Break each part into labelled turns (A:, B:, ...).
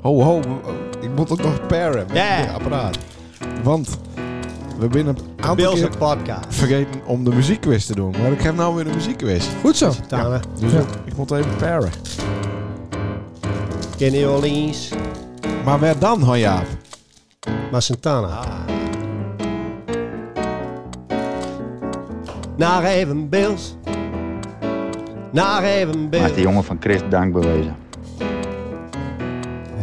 A: Ho, ho. Ik moet ook nog paren met
B: Ja.
A: dit apparaat. Want we binnen een aantal
B: Bills
A: keer
B: een podcast.
A: vergeten om de muziekquiz te doen. Maar ik heb nou weer een muziekquiz.
C: Goed zo.
B: Tame.
A: Dus
C: Ja.
A: ik, ik moet even paren.
B: Kenny Orleans.
A: Maar waar dan, Han Jaap?
B: Maar Santana. Naar even Bills. Naar even
D: Maakt de
B: Bills.
D: jongen van Christ dank bewezen.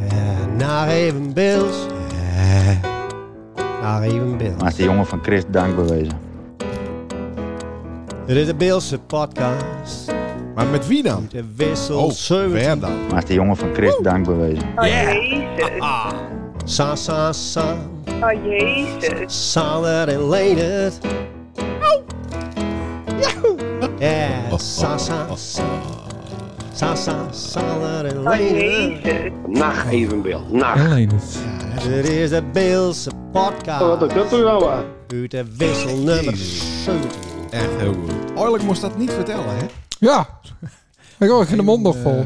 B: Ja, naar even Bills. Naar even Bills.
D: Maakt de jongen van Christ dank bewezen.
B: Dit is de Bills podcast.
A: Maar met wie dan?
B: De wissel
A: Oh,
B: 17.
A: waar dan?
D: Maakt de jongen van Christ dank bewezen.
E: Oh jezus.
B: Sa, sa, sa.
E: Oh jezus.
B: Solid and later. Yeah, sa sa sa sa sa solid and
E: Oh
B: later.
E: jezus.
F: Nacht evenbeeld. Nacht.
C: Alleen het.
B: Dit is de Beelse
G: Wat een
B: podcast
G: kutprogramma.
B: uit de wissel nummer
A: Jezus.
B: 17.
A: Echt heel goed. Oorlijk moest dat niet vertellen, hè?
C: Ja. Ik hoor, ik heb de mond nog vol.
A: Eh,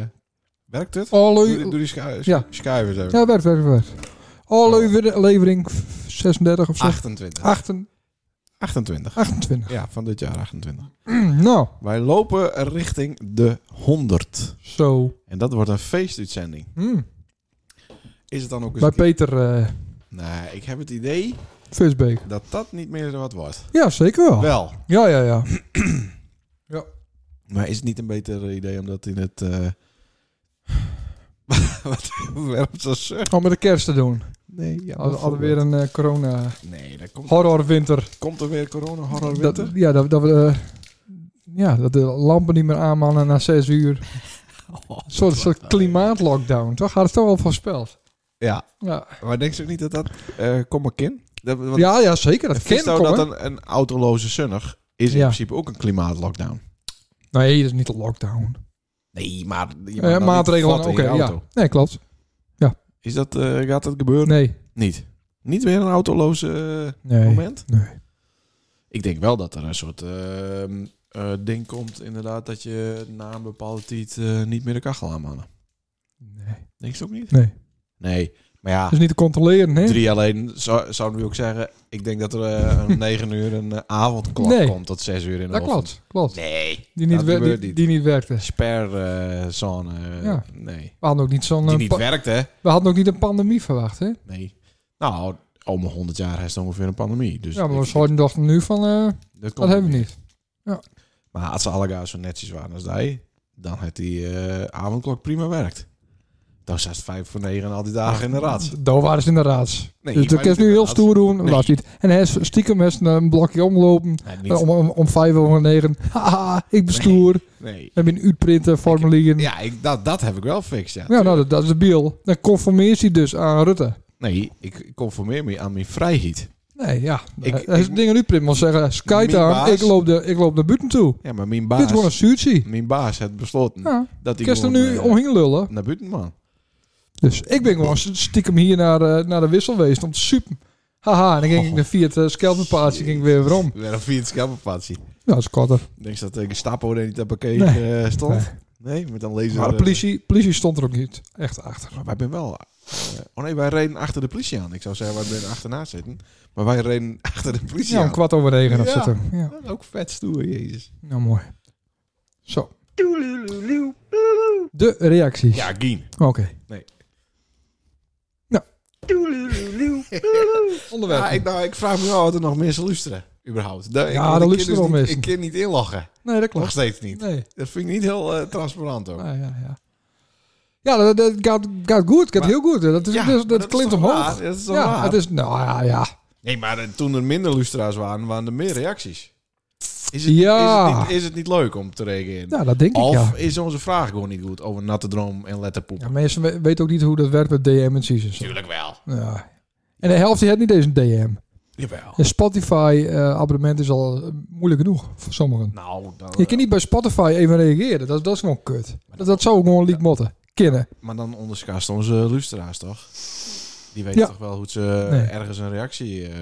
A: werkt het?
C: Alle
A: Doe,
C: u-
A: doe die schu
C: Ja.
A: schuivers even.
C: Ja, werkt, werkt, werkt. Aflevering 36 of zo.
A: 28.
C: 28.
A: 28.
C: 28.
A: Ja, van dit jaar 28.
C: Nou,
A: Wij lopen richting de 100.
C: zo.
A: En dat wordt een feestuitzending.
C: Hm.
A: Is het dan ook eens...
C: Bij
A: een keer-
C: Peter eh
A: Nee, ik heb het idee
C: Visbeek.
A: dat dat niet meer wat wordt.
C: Ja, zeker wel.
A: Wel.
C: Ja, ja, ja.
A: Maar is het niet een beter idee om dat in het... eh wat werpt zo'n zucht?
C: Om met de kerst te doen.
A: Nee, ja,
C: Al- Alweer een eh, corona
A: Nee, daar komt,
C: horrorwinter.
A: komt er weer corona horror
C: Dat,
A: winter.
C: ja, dat, dat we eh, ja, dat de lampen niet meer aanmannen na 6 uur. Een soort, soort klimaatlockdown. Toch had het toch wel voorspeld.
A: Ja,
C: Ja,
A: maar denk je ook niet dat dat... eh kom maar, kin. Dat, want
C: ja, ja zeker. Dat
A: het is
C: kan
A: zo
C: komen.
A: dat een, een autoloze zonnig is in
C: Ja.
A: principe ook een klimaatlockdown.
C: Nee, dat is niet een lockdown.
A: Nee, maar je mag
C: Eh,
A: dat niet
C: maatregelen, oké.
A: vatten in je
C: ja.
A: auto.
C: Nee, klopt.
A: Is dat, eh, gaat dat gebeuren?
C: Nee.
A: Niet. Niet weer een autoloze eh,
C: Nee.
A: moment?
C: nee.
A: Ik denk wel dat er een soort ehm, eh, ding komt, inderdaad, dat je na een bepaalde tijd eh, niet meer de kachel aanmannen.
C: Nee.
A: Denk je het ook niet?
C: Nee. Dus-
A: Nee. Maar ja,
C: Dat is niet te controleren, hè?
A: drie alleen zou, zouden we ook zeggen. Ik denk dat er eh, om negen uur een eh, avondklok
C: Nee.
A: komt tot zes uur in de
C: Dat
A: ochtend.
C: klopt. Klopt.
A: Nee.
C: Die niet,
A: dat
C: wer- die,
A: gebeurt
C: die,
A: niet.
C: niet werkte.
A: Sperrzone. eh,
C: Ja.
A: Nee.
C: We hadden ook niet zo'n.
A: Die
C: eh,
A: niet
C: pa-
A: werkt, hè?
C: we hadden ook niet een pandemie verwacht, hè?
A: Nee. Nou, om 100 jaar is het ongeveer een pandemie. Dus
C: ja, maar
A: ik-
C: we zouden dachten nu van. eh,
A: dat,
C: dat
A: komt
C: hebben we niet.
A: Maar als ze alle guys zo netjes waren als jij, dan had die eh, avondklok prima werkt. Dan zat het vijf voor negen al die dagen in de raad.
C: Daar waren ze in de raads.
A: Nee,
C: dus
A: maar
C: dat kan
A: niet
C: nu
A: in de
C: heel
A: raads.
C: stoer doen.
A: Nee.
C: Was niet. En hij is stiekem heeft ze een blokje omlopen.
A: Nee,
C: eh,
A: niet.
C: Om, om, om vijf over negen. Haha, ik bestuur.
A: Nee.
C: Heb je een uitprinten, formulier. Ja,
A: Ja, ik, dat, dat heb ik wel fix, ja.
C: nou, dat, dat is de biel. Dan conformeert hij dus aan Rutte.
A: Nee, ik conformeer me aan mijn vrijheid.
C: Nee, ja.
A: Ik-
C: Hij hij is
A: ik-
C: dingen uitprint. Maar zeggen, sky
A: Mijn
C: down,
A: baas-
C: ik loop, de, ik loop naar buiten toe.
A: Ja, maar mijn
C: Dit is gewoon een
A: baas,
C: zuurtje.
A: mijn baas had besloten
C: Ja,
A: dat hij
C: ik er
A: gewoon,
C: nu
A: eh,
C: omheen lullen.
A: naar buiten man.
C: Dus ik ben gewoon stiekem hier naar, eh, naar de wissel geweest om te supen. Haha, en dan
A: Oh.
C: ging ik naar via het uh, ging ik weer weer om.
A: Weer een vierde schelpenpatie.
C: Ja, dat is korter.
A: Denk je dat de Gestapo er niet op pakket
C: Nee.
A: eh, stond? Nee, met een laser.
C: Maar de
A: eh,
C: politie, politie stond er ook niet echt achter.
A: Maar wij zijn wel... eh, oh nee, wij reden achter de politie aan. Ik zou zeggen, wij zijn achterna zitten. Maar wij reden achter de politie
C: Ja, om
A: aan.
C: kwart over negen of
A: Ja.
C: zo. Ja,
A: Dat is ook vet stoer, jezus.
C: nou mooi. Zo. De reacties.
A: Ja, Gien.
C: Oké.
A: Nee.
C: Nou.
A: Ja,
C: Onderwerp.
A: ik, nou, ik vraag me wel wat er nog mensen luisteren. Überhaupt. Daar- ik-
C: Ja,
A: want
C: daar
A: ik ken
C: luisteren wel
A: niet-
C: mensen.
A: Ik kan niet inloggen.
C: Nee, dat
A: Nog
C: klopt.
A: steeds niet.
C: Nee.
A: Dat vind ik niet heel eh, transparant ook.
C: Ja, ja, ja. Ja, dat, dat gaat, gaat goed. Gaat
A: Maar-
C: heel goed. Dat, is,
A: Ja,
C: dat,
A: maar
C: dat
A: dat
C: klimt
A: is toch
C: omhoog.
A: waar? Dat is toch
C: ja,
A: waar?
C: het is... Nou ja, ja.
A: Nee, maar eh, toen er minder lustra's waren, waren er meer reacties. Is het,
C: Ja.
A: is het, niet, is het niet leuk om te reageren?
C: Ja, dat denk ik,
A: of
C: ja.
A: is onze vraag gewoon niet goed over natte droom en letterpoep?
C: Ja, mensen we- weten ook niet hoe dat werkt met DM en seasons.
A: Natuurlijk wel.
C: Ja. En de helft die heeft niet eens een DM.
A: Jawel.
C: Een Spotify-abonnement is al eh, moeilijk genoeg voor sommigen.
A: Nou, dan,
C: Je kan niet bij Spotify even reageren. Dat, dat is gewoon kut. Dat, dat zou ook gewoon liek motten. Kennen.
A: Maar dan onderschat onze luisteraars toch? Die weten
C: Ja.
A: toch wel hoe ze
C: Nee.
A: ergens een reactie... eh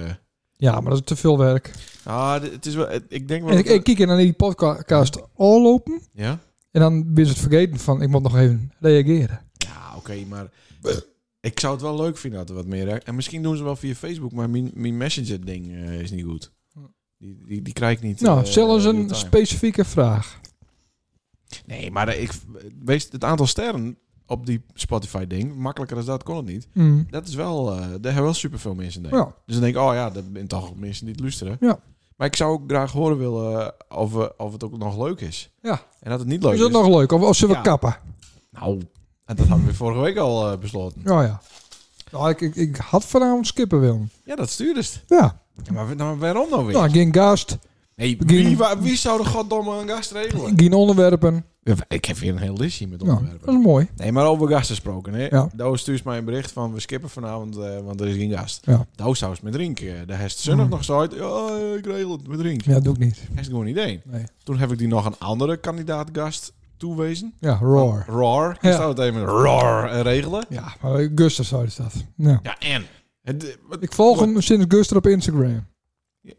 C: Ja, maar dat is te veel werk.
A: Ah, dit- het is wel... het- Ik denk wel...
C: En ik,
A: dat-
C: ik kijk naar die podcast al lopen.
A: Ja?
C: En dan ben ze het vergeten van ik moet nog even reageren.
A: Ja, oké, maar... Ik zou het wel leuk vinden dat er wat meer... En misschien doen ze wel via Facebook, maar mijn, mijn messenger-ding eh, is niet goed. Die, die, die krijg ik niet.
C: Nou,
A: eh,
C: stel eens een
A: real-time.
C: specifieke vraag.
A: Nee, maar eh, ik, wees het aantal sterren op die Spotify-ding, makkelijker dan dat kon het niet.
C: Mm.
A: Dat is wel, eh, daar hebben wel superveel mensen denk ik.
C: Ja.
A: Dus dan denk ik, oh ja, dat zijn toch mensen die het luisteren.
C: Ja.
A: Maar ik zou ook graag horen willen eh, of, we- of het ook nog leuk is.
C: Ja.
A: En dat het niet leuk
C: Is
A: is.
C: dat nog leuk? Of, of zullen we
A: Ja.
C: kappen?
A: Nou, en dat hebben we vorige week al eh, besloten.
C: Oh ja. Nou, ik, ik, ik had vanavond skippen willen.
A: Ja, dat stuurde ze.
C: Ja.
A: Ja, maar, we- nou, waarom nou weer?
C: Nou, geen gast,
A: nee,
C: begin-
A: wie, wa- wie zou de goddomme een gast regelen?
C: geen onderwerpen.
A: Ja, Ik heb weer een heel listje met
C: Nou,
A: onderwerpen.
C: dat is mooi.
A: Nee, maar over gast gesproken. Hè?
C: Ja.
A: Douwe stuurt mij een bericht van we skippen vanavond, eh, want er is geen gast.
C: Ja.
A: Douwe zou eens met drinken. Eh, Daar heeft zonnig
C: Mm.
A: nog zo uit. Ja, ik regel het met drinken.
C: Ja, doe ik niet.
A: Hij is gewoon niet één.
C: Nee.
A: Toen heb ik die nog een andere kandidaatgast toewezen.
C: Ja,
A: Ah.
C: roar.
A: Roar. Ik
C: Ja.
A: zou het even met roar eh, regelen.
C: Ja, maar eh, Guster zou is dat. Nou.
A: Ja, en? Het, eh, wat-
C: Ik volg hem sinds Guster op Instagram.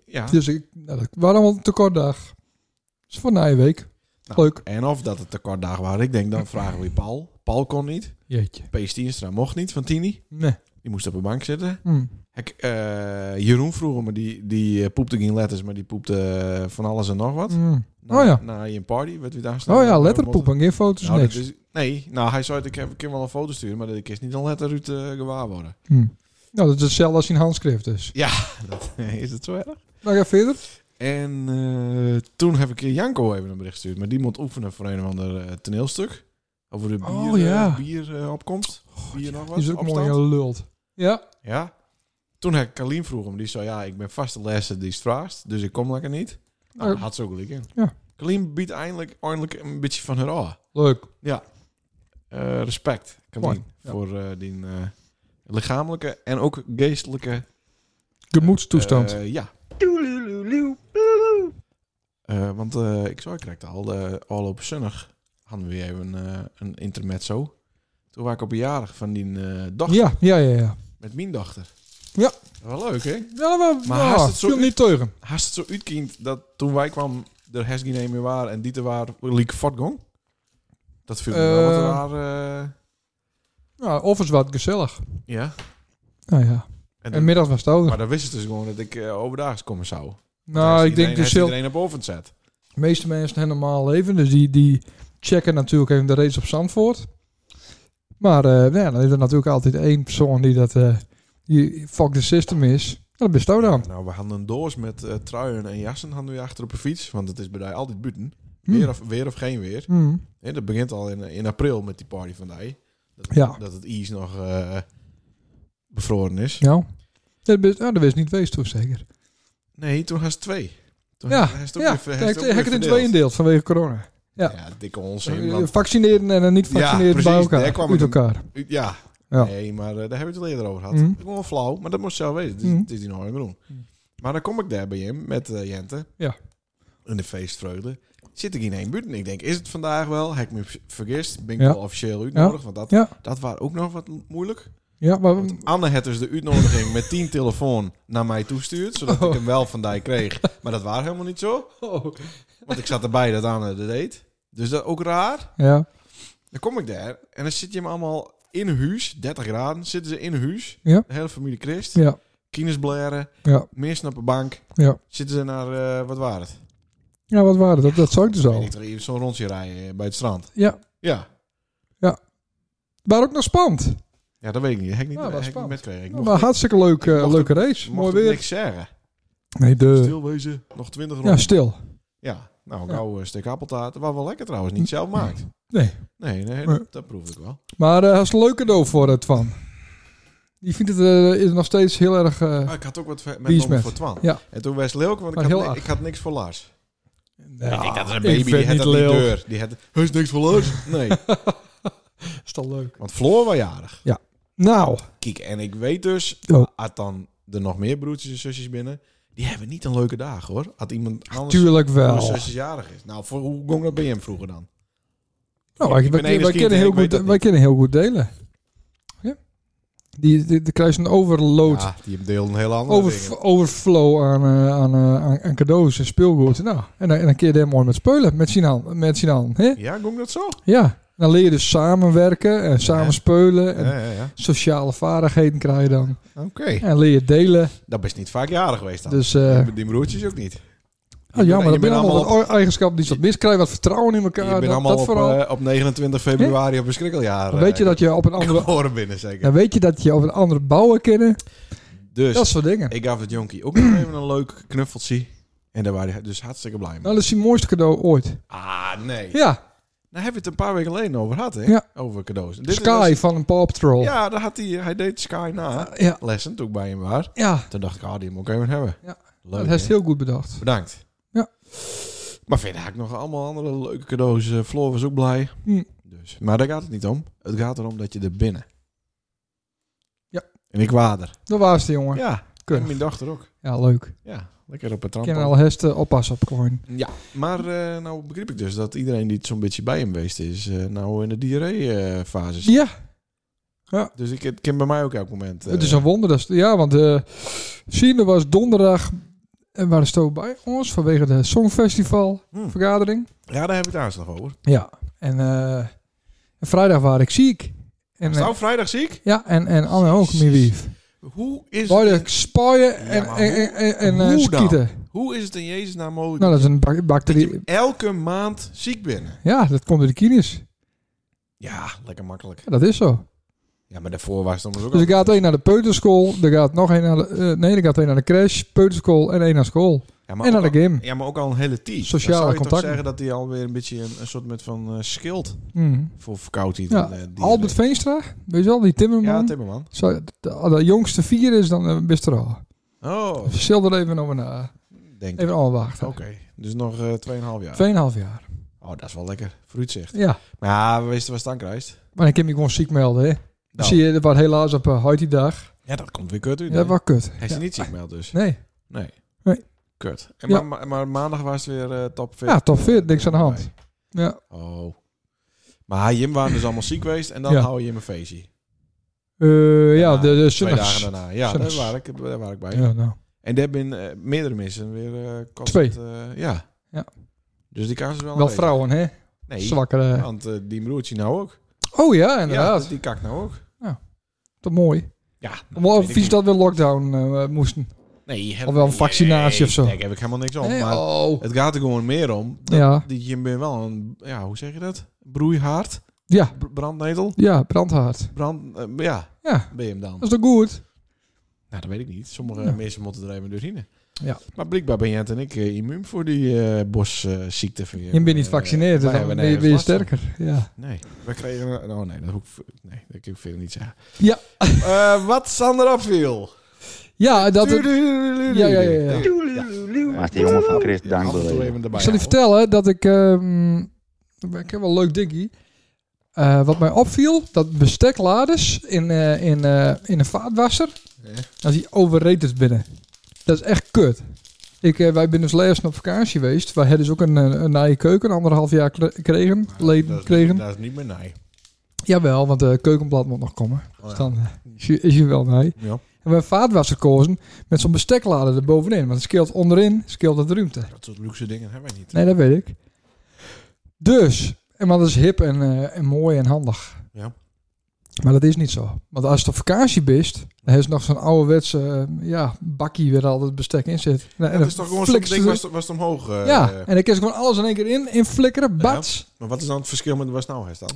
A: Ja.
C: Dus ik, nou, dat was allemaal een tekortdag. Dat is voor na je week.
A: Nou,
C: Leuk.
A: En of dat het tekortdagen waren. Ik denk, dan vragen we Paul. Paul kon niet.
C: Jeetje.
A: P. Stienstra mocht niet van Tini.
C: Nee.
A: Die moest op een bank zitten.
C: Hm.
A: Ik, eh, Jeroen vroeg me, die, die eh, poepte geen letters, maar die poepte eh, van alles en nog wat.
C: Hm.
A: Na,
C: Oh ja.
A: Na je party, werd u daar staan.
C: Oh ja, letterpoepen. Geen foto's,
A: Nou, dat
C: niks.
A: is, nee, nou hij zei, ik heb ik kan wel een foto sturen, maar ik is niet een letter uit eh, gewaar worden.
C: Hm. Nou, dat is hetzelfde als in handschrift dus.
A: Dat, is het zo erg?
C: Nou, ga verder.
A: En eh, toen heb ik Janko even een bericht gestuurd, maar die moet oefenen voor een of ander eh, toneelstuk. Over de bier,
C: Oh,
A: eh,
C: ja. Oh,
A: bieropkomst. bier nog wat.
C: Die is ook
A: opstand.
C: mooi en lult. Ja.
A: Ja. Toen heb ik Kalien vroeg hem, die zei, ja, ik ben vaste lessen die het vraagt, dus ik kom lekker niet. Nou,
C: Eh.
A: daar had ze ook gelijk in.
C: Ja.
A: Kalien biedt eindelijk, eindelijk een beetje van haar af.
C: Leuk.
A: Eh, respect, Kalien,
C: Mooi, ja.
A: voor eh, die eh, lichamelijke en ook geestelijke...
C: Gemoedstoestand.
A: eh, ja. Eh, want eh, ik zei correct al, eh al op zonnig hadden we weer even eh, een intermezzo. Toen was ik op een jarig van die eh, dochter,
C: ja, ja, ja, ja.
A: met mijn dochter.
C: Ja.
A: Wel leuk, hè?
C: Ja, Nou, maar,
A: Maar
C: ja,
A: haast het zo
C: viel
A: uit-
C: niet tegen.
A: Hast het zo uitkiend dat toen wij kwamen er has geen een meer waren en Dieter waar liek fortgong? Dat viel me wel wat
C: Eh.
A: raar. eh,
C: Ja, Nou, of is wat gezellig.
A: ja.
C: Nou ja.
A: En
C: En
A: dan-
C: middag was het
A: maar
C: over.
A: dan wist het dus gewoon dat ik eh, overdag komen zou.
C: Nou, ik denk
A: dat
C: gezellig.
A: iedereen op oven zet.
C: De meeste mensen hebben normaal leven, dus die, die checken natuurlijk even de race op Zandvoort. Maar eh, nou ja, dan is er natuurlijk altijd één persoon die dat eh, die fuck the system is. Nou, Dat bist ook dan.
A: Nou, we hadden een doos met eh, truien en jassen hadden we achter op een fiets, want het is bij mij altijd buiten.
C: Hm.
A: Weer, of, weer of geen weer.
C: Hm.
A: Hè, dat begint al in, in april met die party van die. Dat,
C: Ja.
A: dat het ijs nog eh, bevroren is.
C: Nou, dat bist, nou, dat is niet wees toch zeker.
A: Nee, toen had twee. Toen
C: Ja,
A: hij is ook
C: Ja,
A: weer- hij is
C: hij
A: ook weer
C: heeft het in
A: verdeeld.
C: tweeën deelt vanwege corona.
A: Ja,
C: Ja.
A: dikke onzin.
C: Eh,
A: want-
C: Vaccineren en een niet
A: Ja,
C: vaccineren bij
A: precies,
C: elkaar.
A: daar kwam
C: Uit
A: het
C: elkaar.
A: ja.
C: Ja.
A: Nee, maar eh, daar hebben we het al eerder over gehad.
C: Mhm.
A: Gewoon flauw, maar dat moest je zelf weten. Het is,
C: Mhm.
A: het is die nog groen. Maar dan kom ik daar bij hem met eh, Jente.
C: Ja.
A: In de feestvreugde. Zit ik in één buurt en ik denk, is het vandaag wel? Heb ik me vergist? Ben ik
C: Ja.
A: wel officieel uitnodigd? Want dat,
C: Ja.
A: dat was ook nog wat moeilijk.
C: Ja, maar
A: Want Anne had dus de uitnodiging met tien telefoon naar mij toestuurd. Zodat ik
C: Oh.
A: hem wel van die kreeg. Maar dat was helemaal niet zo.
C: Oh.
A: Want ik zat erbij dat Anne dat deed. Dus dat ook raar.
C: ja,
A: Dan kom ik daar en dan zit je hem allemaal in een huis, 30 graden, zitten ze in een huis.
C: Ja.
A: De hele familie Christ.
C: ja,
A: Kines blaren,
C: ja,
A: mensen op de bank.
C: ja.
A: Zitten ze naar, eh, wat waren het?
C: Ja, wat waren dat? Dat zou ik dus
A: Weet
C: al.
A: ik er even Zo'n rondje rijden eh, bij het strand.
C: Ja,
A: Ja,
C: maar ook nog spannend.
A: ja dat weet ik niet. Dat heb ik niet,
C: Nou, dat
A: heb ik
C: is
A: niet
C: spannend.
A: metgekregen. Ik
C: Nou,
A: mocht,
C: maar hartstikke leuk, eh,
A: mocht
C: leuke race.
A: mocht
C: Mooi
A: ook
C: weer.
A: niks zeggen.
C: Nee, de...
A: Stilwezen, nog 20
C: Ja,
A: ronden. Ja,
C: stil.
A: nou,
C: Ja.
A: gauw een stuk appeltaart. Waar wel lekker trouwens, niet zelf maakt.
C: Nee.
A: Nee, nee,
C: Nee.
A: dat, dat proef ik wel.
C: Maar eh hij is een leuk cadeau voor het van. Die vindt het eh, is nog steeds heel erg... eh,
A: Maar Ah, ik had ook wat ver-
C: Wie
A: met
C: is
A: Tom
C: met?
A: voor Twan.
C: Ja.
A: En toen was Leeuwke, want ik
C: Maar
A: had,
C: heel
A: ni-
C: aardig.
A: ik had niks voor Lars.
C: ja,
A: ik denk dat is een baby, die
C: vind
A: heeft
C: niet
A: dat niet
C: leuk.
A: deur. Die heeft, hij is niks voor los. Nee,
C: Is toch leuk.
A: want Floor was jarig.
C: Nou,
A: Kijk, en ik weet dus,
C: Oh.
A: had dan er nog meer broertjes en zusjes binnen, die hebben niet een leuke dag hoor. Had iemand anders
C: tuurlijk
A: een
C: wel.
A: zusjes jarig is. Nou, voor, hoe ging dat bij hem vroeger dan?
C: Nou, wij,
A: Ik ben
C: wij-
A: enig
C: wij
A: kind, hè,
C: kennen heel
A: ik weet
C: goed,
A: dat
C: wij
A: niet.
C: kennen heel goed delen. Ja. Die, die, die krijgt een overload,
A: Ja, die deelden een hele andere
C: overf-
A: dingen.
C: overflow aan, eh, aan, eh, aan, aan cadeaus en speelgoed. Nou, en, dan- en dan keer je daar mooi met speulen, met Sinan. Met Sinan hè?
A: Ja, ging dat zo?
C: Ja, Dan leer je dus samenwerken en samen
A: Ja.
C: speulen. En
A: Ja, ja, ja.
C: sociale vaardigheden krijg je dan.
A: Oké.
C: En leer je delen.
A: Dat best niet vaak jaren geweest dan.
C: Dus eh,
A: Die- die broertjes ook niet.
C: oh, jammer, dat
A: bent
C: zijn allemaal
A: allemaal
C: wat eigenschappen die zat mis. Krijg je wat vertrouwen in
A: Je
C: elkaar.
A: bent
C: Dat,
A: allemaal
C: dat
A: op,
C: vooral.
A: eh, op 29 februari op een schrikkeljaar. eh,
C: Dan weet je dat je op een andere...
A: Geboren binnen zeker.
C: Dan weet je dat je op een andere bouwen kennen.
A: dus
C: Dat soort dingen.
A: ik gaf het jonkie ook nog even een leuk knuffeltje. En daar waren hij dus hartstikke blij mee.
C: Nou, dat is je mooiste cadeau ooit.
A: Ah, nee.
C: Ja,
A: Nou hebben we het een paar weken geleden over gehad, hè?
C: Ja.
A: Over cadeaus. Dit
C: Sky
A: was-
C: van een Paw Patrol. Ja.
A: ja, daar had hij, hij deed Sky na.
C: Ja.
A: Lessen, toen ik bij hem was. Toen dacht ik, ah, die moet ik even hebben.
C: Ja.
A: Leuk,
C: dat heeft
A: hè?
C: heel goed bedacht.
A: Bedankt.
C: Ja.
A: Maar verder heb ik nog allemaal andere leuke cadeaus. Eh, Floor was ook blij.
C: Hm.
A: Dus, maar daar gaat het niet om. Het gaat erom dat je er binnen.
C: Ja.
A: En ik wader.
C: Dat was de jongen. Ja,
A: Ja. En mijn dochter ook.
C: leuk. Ik
A: Ja. Lekker op het
C: ken
A: trampoline.
C: al eh, hesten oppassen op coin.
A: Ja. Maar eh, nou begreep ik dus dat iedereen die het zo'n beetje bij hem geweest is, eh, nou in de diarree-fase zit.
C: Ja,
A: Dus ik het ken bij mij ook elk moment. eh,
C: het is een wonder. Dat, ze- ja, want eh Sine was donderdag en waren ze ook bij ons vanwege de Songfestival
A: Hm.
C: vergadering.
A: Ja, daar heb ik het aanslag over.
C: Ja. En eh, en vrijdag was ik ziek. En,
A: Is
C: eh,
A: nou vrijdag ziek?
C: ja, en, en Anne ook, mijn wief.
A: Hoe is,
C: Beide
A: het,
C: spuien en,
A: Ja, maar
C: en, en, en, en, eh,
A: hoe dan?
C: skieten.
A: hoe is het in Jezus naam mogelijk
C: Nou, dat is een bak-
A: dat je
C: bacterie.
A: elke maand ziek bent?
C: Ja, dat komt door de kines.
A: Ja, lekker makkelijk.
C: Ja, dat is zo.
A: Ja, maar daarvoor was het dan ook
C: Dus
A: al-
C: er gaat één naar de peuterschool, er gaat nog één naar de... eh, nee, er gaat één naar de crash, peuterschool en één naar school.
A: ja, maar
C: en
A: ook
C: naar de
A: al-
C: gym.
A: Ja, maar ook al een hele team.
C: Sociale
A: Dan zou je toch
C: contacten.
A: zeggen dat hij alweer een beetje een, een soort met van eh, schild
C: Mm.
A: voor verkoudheid.
C: Ja,
A: en, eh, diarree.
C: Albert Veenstra, weet je wel, die timmerman.
A: Ja, Timmerman.
C: Zo, de, de jongste vier is, dan eh, best er al.
A: Oh,
C: Zil er even over na.
A: denk ik.
C: Even allemaal
A: Oké,
C: wachten.
A: dus nog eh 2,5 jaar.
C: Tweeënhalf jaar.
A: Oh, dat is wel lekker. Fruitzicht.
C: Ja.
A: Maar ja, we wisten waar het aan krijgt.
C: Maar ik heb me gewoon ziek melden, hè.
A: Nou.
C: Zie je, dat was helaas op uh, die dag.
A: Ja, dat komt weer kut uit.
C: Ja, dat
A: hè?
C: was kut.
A: Hij is
C: Ja.
A: niet ziek meld dus.
C: Nee.
A: Nee.
C: Nee.
A: Kut. En
C: Ja.
A: maar, maar, maar maandag was het weer eh, top 40.
C: Ja, top 40, niks aan de hand. Ja.
A: Oh. Maar Jim waren dus allemaal ziek geweest en dan
C: Ja.
A: hou je hem een feestje.
C: Eh, ja,
A: Daarna,
C: de, de
A: Twee
C: zondags.
A: dagen daarna. Ja, daar
C: Zondags.
A: waar, ik, daar waar ik bij.
C: Ja, nou.
A: En daar ben eh, meerdere missen weer eh kost
C: Twee.
A: het, eh, ja.
C: Ja.
A: Dus die kans is wel
C: Wel
A: aanwezig.
C: vrouwen, hè.
A: Nee,
C: Zwakkere.
A: want eh, die broertje nou ook.
C: Oh ja,
A: Ja,
C: inderdaad.
A: die kakt nou ook.
C: Toch mooi.
A: Ja.
C: Wel
A: weet ik
C: vies
A: niet.
C: dat we lockdown eh, moesten.
A: Nee, helemaal
C: Of wel een
A: niet.
C: vaccinatie
A: Nee,
C: of zo.
A: Nee, daar heb ik helemaal niks om.
C: Nee,
A: Maar
C: oh.
A: het gaat er gewoon meer om. Dat
C: Ja.
A: die, je bent wel een, ja, hoe zeg je dat? Broeihaard?
C: Ja.
A: Br- brandnetel?
C: Ja, brandhaard.
A: Brand, eh, ja,
C: Ja,
A: ben je hem dan?
C: dat is toch goed?
A: Nou, dat weet ik niet. Sommige
C: Ja.
A: mensen moeten er even doorheen.
C: Ja.
A: Maar blijkbaar ben jij en ik eh, immuun voor die eh bosziekte. van Eh,
C: Je bent niet gevaccineerd,
A: wij
C: dus dan
A: hebben
C: ben je,
A: nergens
C: ben je
A: last van.
C: sterker. Ja.
A: Nee, we kregen... een- Oh nee, dat hoef ik, nee, dat kan ik verder niet zeggen.
C: Ja.
A: Eh, wat Sander opviel.
C: ja, dat... het- Ja, ja, ja, ja.
A: Ik
D: Maar die jongen van Chris
A: af en toe
D: Dankbewezen.
A: even erbij
C: Ik zal
A: houden.
C: je vertellen dat ik... ehm, ik heb wel een leuk dingetje. Eh, wat mij opviel, dat bestekladers in, eh, in, eh, in een vaatwasser,
A: Ja.
C: dat die overrated binnen. Dat is echt kut. Ik, eh, wij zijn dus laatst op vakantie geweest. Wij hadden dus ook een, eh, een nieuwe keuken, anderhalf jaar kre- kregen,
A: Dat
C: leden
A: is-
C: kregen.
A: Dat is niet meer nee. Jawel.
C: Jawel, want de keukenblad moet nog komen.
A: Oh ja.
C: Dus dan eh, is je, is je wel mee. En
A: Ja,
C: we hebben vaatwasser gekozen met zo'n besteklader erbovenin. Want het scheelt onderin, scheelt het ruimte.
A: dat soort luxe dingen hebben wij niet.
C: Nee, dat weet ik. Dus, en maar dat is hip en, eh, en mooi en handig.
A: Ja.
C: Maar dat is niet zo. Want als het op vakantie bist, dan is nog zo'n ouderwetse eh, ja, bakkie waar al het bestek in zit. Nou,
A: Dat
C: en dan
A: is toch gewoon zo'n
C: flikst
A: ding
C: het-
A: was, was het omhoog. eh,
C: ja,
A: eh,
C: en dan kun je gewoon alles in één keer in, in flikkeren, bats.
A: Maar wat is dan het verschil met de wasnauwheid dan?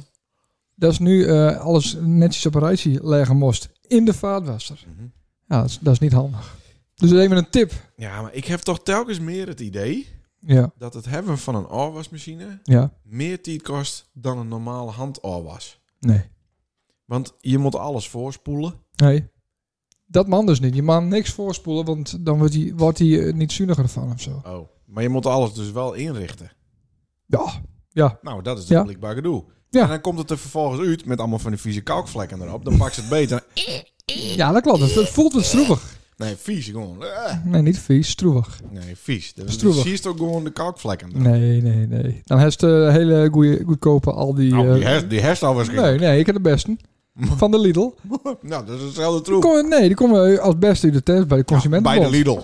C: Dat is nu eh, alles netjes op een rijtje leggen moest. In de vaatwasser.
A: Mhm.
C: Ja, dat is, dat is niet handig. Dus even een tip.
A: Ja, maar ik heb toch telkens meer het idee
C: Ja,
A: dat het hebben van een afwasmachine
C: ja.
A: meer tijd kost dan een normale handafwas.
C: Nee.
A: Want je moet alles voorspoelen.
C: Nee. Dat man dus niet. Je man niks voorspoelen, want dan wordt hij wordt hij eh, niet zuiniger van of zo.
A: Oh. Maar je moet alles dus wel inrichten.
C: Ja.
A: Nou, dat is
C: Ja.
A: het blikbaar gedoe.
C: Ja.
A: En dan komt het er vervolgens uit met allemaal van die vieze kalkvlekken erop. Dan pak ze het beter.
C: Ja, dat klopt. Het, het voelt wat stroevig.
A: Nee, vies gewoon. Eh.
C: Nee, niet vies. Stroevig.
A: Nee, vies. Dan
C: Stroevig.
A: zie je toch gewoon de kalkvlekken erop.
C: Nee, nee, nee. Dan heeft de hele goeie, goedkope al die...
A: Nou, die,
C: eh,
A: her, die hersenafwas ging-
C: nee, nee. Ik heb de beste. Van de Lidl.
A: Nou, dat is hetzelfde
C: Die
A: troep.
C: komen, nee, die komen als beste uit de test bij de
A: Ja, bij
C: consumentenbond.
A: de Lidl.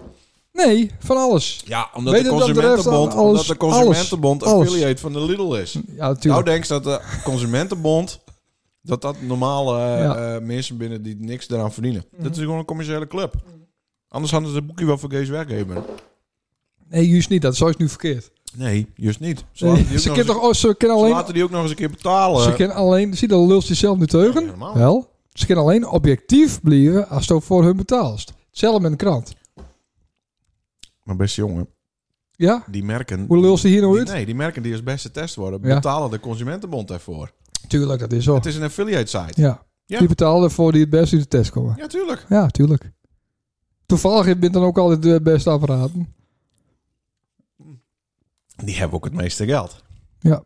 C: Nee, van alles.
A: Ja, omdat
C: Weet
A: de
C: je dat de
A: Consumentenbond,
C: rest aan alles-
A: omdat de Consumentenbond
C: alles- alles.
A: affiliate van de Lidl is.
C: Ja,
A: Nou
C: natuurlijk.
A: denk je dat de Consumentenbond, dat dat normale eh,
C: Ja.
A: eh, mensen binnen die niks eraan verdienen. Dat is gewoon een commerciële club. Anders hadden ze het boekje wel voor Gees weggeven.
C: Nee, juist niet. Dat is juist nu verkeerd.
A: Nee, juist niet. Ze,
C: Nee,
A: laten die ook
C: ze
A: nog
C: kunnen
A: eens-
C: toch oh, ze kunnen
A: ze
C: alleen,
A: laten die ook nog eens een keer betalen.
C: ze kunnen alleen, zie je, dan lulst je zelf nu teugen.
A: eh, Ja, helemaal.
C: Wel, ze kunnen alleen objectief blijven als je ook voor hun betaalt. Hetzelfde met een krant.
A: Maar beste jongen,
C: Ja?
A: die merken...
C: Hoe lulst ze hier nou
A: die,
C: uit?
A: Nee, die merken die als beste test worden,
C: Ja. Oh.
A: betalen de Consumentenbond ervoor.
C: Tuurlijk, dat is zo.
A: Het is een affiliate site.
C: Ja.
A: Ja.
C: Die betalen voor die het beste uit de test komen.
A: Ja, tuurlijk.
C: Ja, tuurlijk. Toevallig bent dan ook altijd de beste apparaten.
A: Die hebben ook het meeste geld.
C: Ja.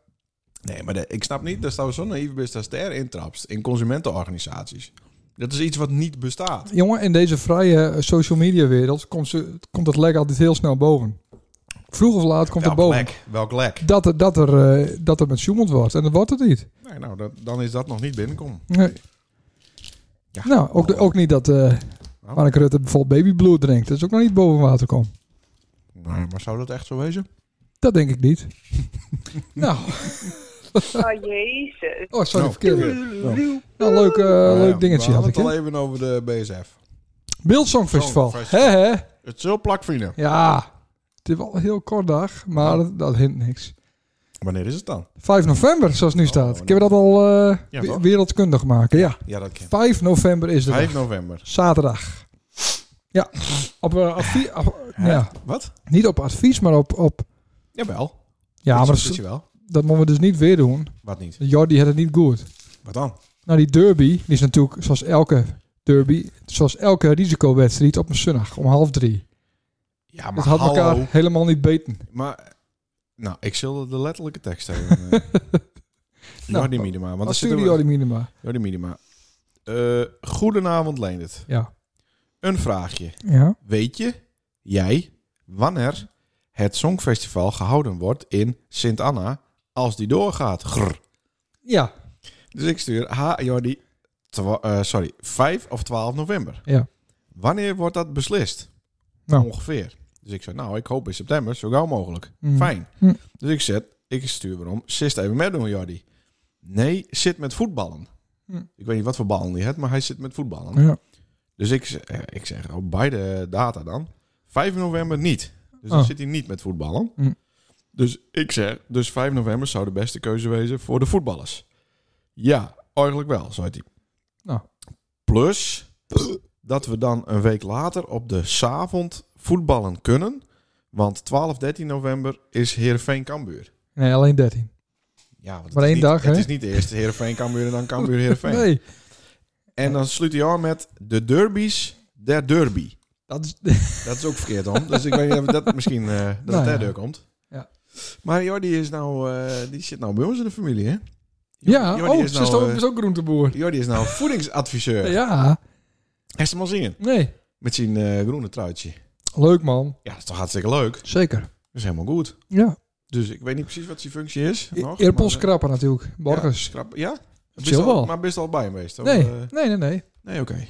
A: Nee, maar de- ik snap niet dat we zo naïef bent als daar intrapt in consumentenorganisaties. Dat is iets wat niet bestaat.
C: Jongen, in deze vrije eh, social media wereld komt, ze, komt dat lek altijd heel snel boven. Vroeg of laat komt het
A: Welk
C: boven.
A: lek? Welk lek?
C: Dat er, dat, er, eh, dat er met Sjoemeld wordt. En dat wordt het niet.
A: Nee, nou, dat, dan is dat nog niet binnenkomen.
C: Nee.
A: Ja. Oh.
C: Nou, ook, de- ook niet dat eh Mark Rutte bijvoorbeeld babybloed drinkt. Dat is ook nog niet boven water komt.
A: Nee, maar zou dat echt zo wezen?
C: Dat denk ik niet. nou,
E: Oh, jezus.
C: oh, sorry,
A: Nou,
C: verkeerd.
A: nou.
C: Nou, leuk, eh,
A: Nou
C: leuk
A: ja,
C: dingetje
A: We
C: had
A: hadden
C: ik.
A: het al
C: hè.
A: even over de BSF.
C: Beeldsongfestival.
A: Songfestival.
C: Hè, hè?
A: Het zul plakvrienden.
C: Ja, het is wel een heel kort dag, maar dat, dat hint niks.
A: Wanneer is het dan?
C: 5 november, zoals het nu staat. Ik heb dat al eh,
A: Oh, Ja,
C: we-
A: toch?
C: wereldkundig maken, ja.
A: Ja, dat kan.
C: 5 november is de
A: 5
C: dag.
A: november.
C: Zaterdag. Ja, op, eh, advie- op- ja,
A: Wat?
C: niet op advies, maar op... op
A: Jawel.
C: ja, maar
A: dat
C: dat,
A: is
C: is-
A: wel.
C: dat moeten we dus niet weer doen.
A: Wat niet?
C: Jordi had het niet goed.
A: Wat dan?
C: Nou, die derby, die is natuurlijk zoals elke derby, zoals elke risicowedstrijd op een zondag om half drie.
A: Ja,
C: dat had
A: hallo.
C: elkaar helemaal niet beten.
A: Maar, nou, ik zul de letterlijke tekst hebben. eh. Jordi Minima. Want dat
C: Wat Nou, Als
A: zit er
C: jullie Jordi Minima.
A: Jordi Minima. Eh, goedenavond, Leendert.
C: Ja.
A: Een vraagje.
C: Ja.
A: Weet je, jij, wanneer het Songfestival gehouden wordt in Sint-Anna, als die doorgaat? Grr.
C: Ja.
A: Dus ik stuur, ha Jordi, twa- eh, sorry, 5 of 12 november.
C: Ja.
A: Wanneer wordt dat beslist?
C: Nou.
A: Ongeveer. Dus ik zei, nou, ik hoop in september, zo gauw mogelijk.
C: Mm.
A: Fijn.
C: Hm.
A: Dus ik zet, ik stuur erom, zit even met doen, Jordi. Nee, zit met voetballen.
C: Hm.
A: Ik weet niet wat voor ballen die heeft, maar hij zit met voetballen.
C: ja.
A: Dus ik, z- eh, ik zeg op beide data dan. 5 november niet. Dus dan
C: Oh.
A: zit hij niet met voetballen.
C: Mm.
A: Dus ik zeg, dus 5 november zou de beste keuze wezen voor de voetballers. Ja, eigenlijk wel, zei hij.
C: Nou.
A: Plus dat we dan een week later op de avond voetballen kunnen. Want 12, 13 november is Heerenveen Cambuur.
C: Nee, alleen 13.
A: Ja, want het
C: Maar
A: is
C: één
A: niet,
C: dag,
A: Het
C: hè?
A: is niet eerst Heerenveen Cambuur en dan Cambuur Heerenveen.
C: Nee,
A: En dan sluit hij aan met de derbies der derby.
C: dat is,
A: Dat is ook verkeerd om. Dus ik weet niet of dat misschien eh, dat
C: Nou
A: het
C: ja.
A: daardoor komt.
C: Ja.
A: Maar Jordi is nou, eh, die zit nou bij ons in de familie, hè?
C: ja, oh,
A: is
C: ze is,
A: nou,
C: ook-
A: eh,
C: is ook groenteboer.
A: Jordi is nou voedingsadviseur. Hij
C: Ja,
A: Heeft hem al zien
C: nee.
A: met zijn eh, groene truitje.
C: Leuk man.
A: Ja, dat is toch hartstikke leuk. Dat
C: Zeker.
A: is helemaal goed.
C: Ja.
A: Dus ik weet niet precies wat zijn functie is. nog,
C: Eerpels
A: maar, eh,
C: krappen natuurlijk. Borgers.
A: Krap, ja? Bist
C: Chill
A: al-
C: wel.
A: Maar best al bij hem geweest? of,
C: Nee,
A: eh,
C: nee, nee, nee.
A: nee, oké.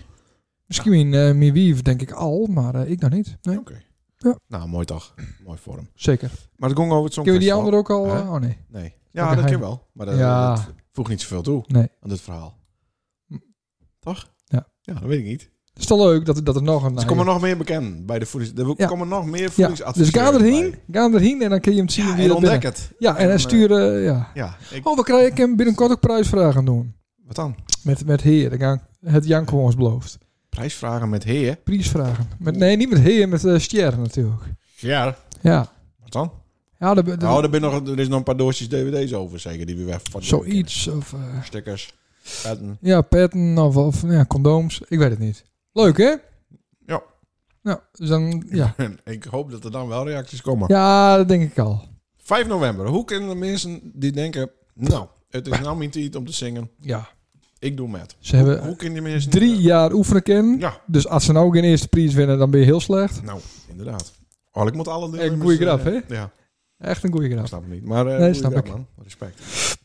C: Misschien in eh Mie Wief denk ik al, maar eh, ik nog niet. Nee,
A: Oké.
C: Ja.
A: Nou, mooi toch. Mooi voor hem.
C: zeker.
A: Maar het ging over het
C: Kunnen we die
A: Songfestival.
C: andere ook al?
A: Hè?
C: eh, oh nee.
A: Nee. Ja,
C: Oké,
A: dat
C: hij-
A: kan wel. Maar dat,
C: Ja.
A: dat voegt niet zoveel toe
C: Nee.
A: aan dit verhaal.
C: Hm.
A: Toch?
C: Ja. Nou,
A: Ja, dat weet ik niet.
C: Het is toch leuk dat, dat er nog een...
A: Dus er komen nog meer bekend bij de voedings... Er
C: Ja.
A: komen nog meer
C: ja, dus
A: voedingsadviseurs
C: ga
A: bij.
C: erheen. Ga erheen en dan kun je hem zien
A: Ja,
C: wie
A: en
C: er
A: ontdek
C: binnen-
A: het.
C: Ja, en,
A: En,
C: en
A: eh,
C: sturen... ja.
A: Ja, ik,
C: Oh, we krijgen ik hem binnenkort ook prijsvragen doen.
A: wat dan?
C: Met, met heer. Dan gaan het Janko ons belooft.
A: Prijsvragen met heer.
C: Prijsvragen. Met, nee, niet met heer, met eh Stjer natuurlijk.
A: Ja.
C: Ja.
A: Wat dan?
C: Ja, de, de,
A: Nou, er, ben nog, er is nog een paar doosjes dvd's over, zeker, die we weg van
C: zoiets. Of, eh,
A: Stickers. petten.
C: ja, petten of, of ja, condooms. Ik weet het niet. Leuk, hè?
A: Ja.
C: Nou, dus dan, ja.
A: En ik hoop dat er dan wel reacties komen.
C: ja, dat denk ik al.
A: 5 november. Hoe kunnen de mensen die denken... Nou, het is nou mijn tijd om te zingen.
C: Ja.
A: Ik doe met.
C: Ze hebben
A: Hoe kunnen de mensen...
C: Eh, drie jaar oefenen kennen.
A: eh, Ja.
C: Dus als ze nou geen eerste prijs winnen, dan ben je heel slecht.
A: Nou, inderdaad. Oh, ik moet alle eh,
C: Een goeie grap, hè?
A: Ja,
C: Echt een goede
A: ik
C: grap.
A: snap het niet. Maar eh
C: Nee,
A: goeie
C: snap
A: grap,
C: ik.
A: man. Respect.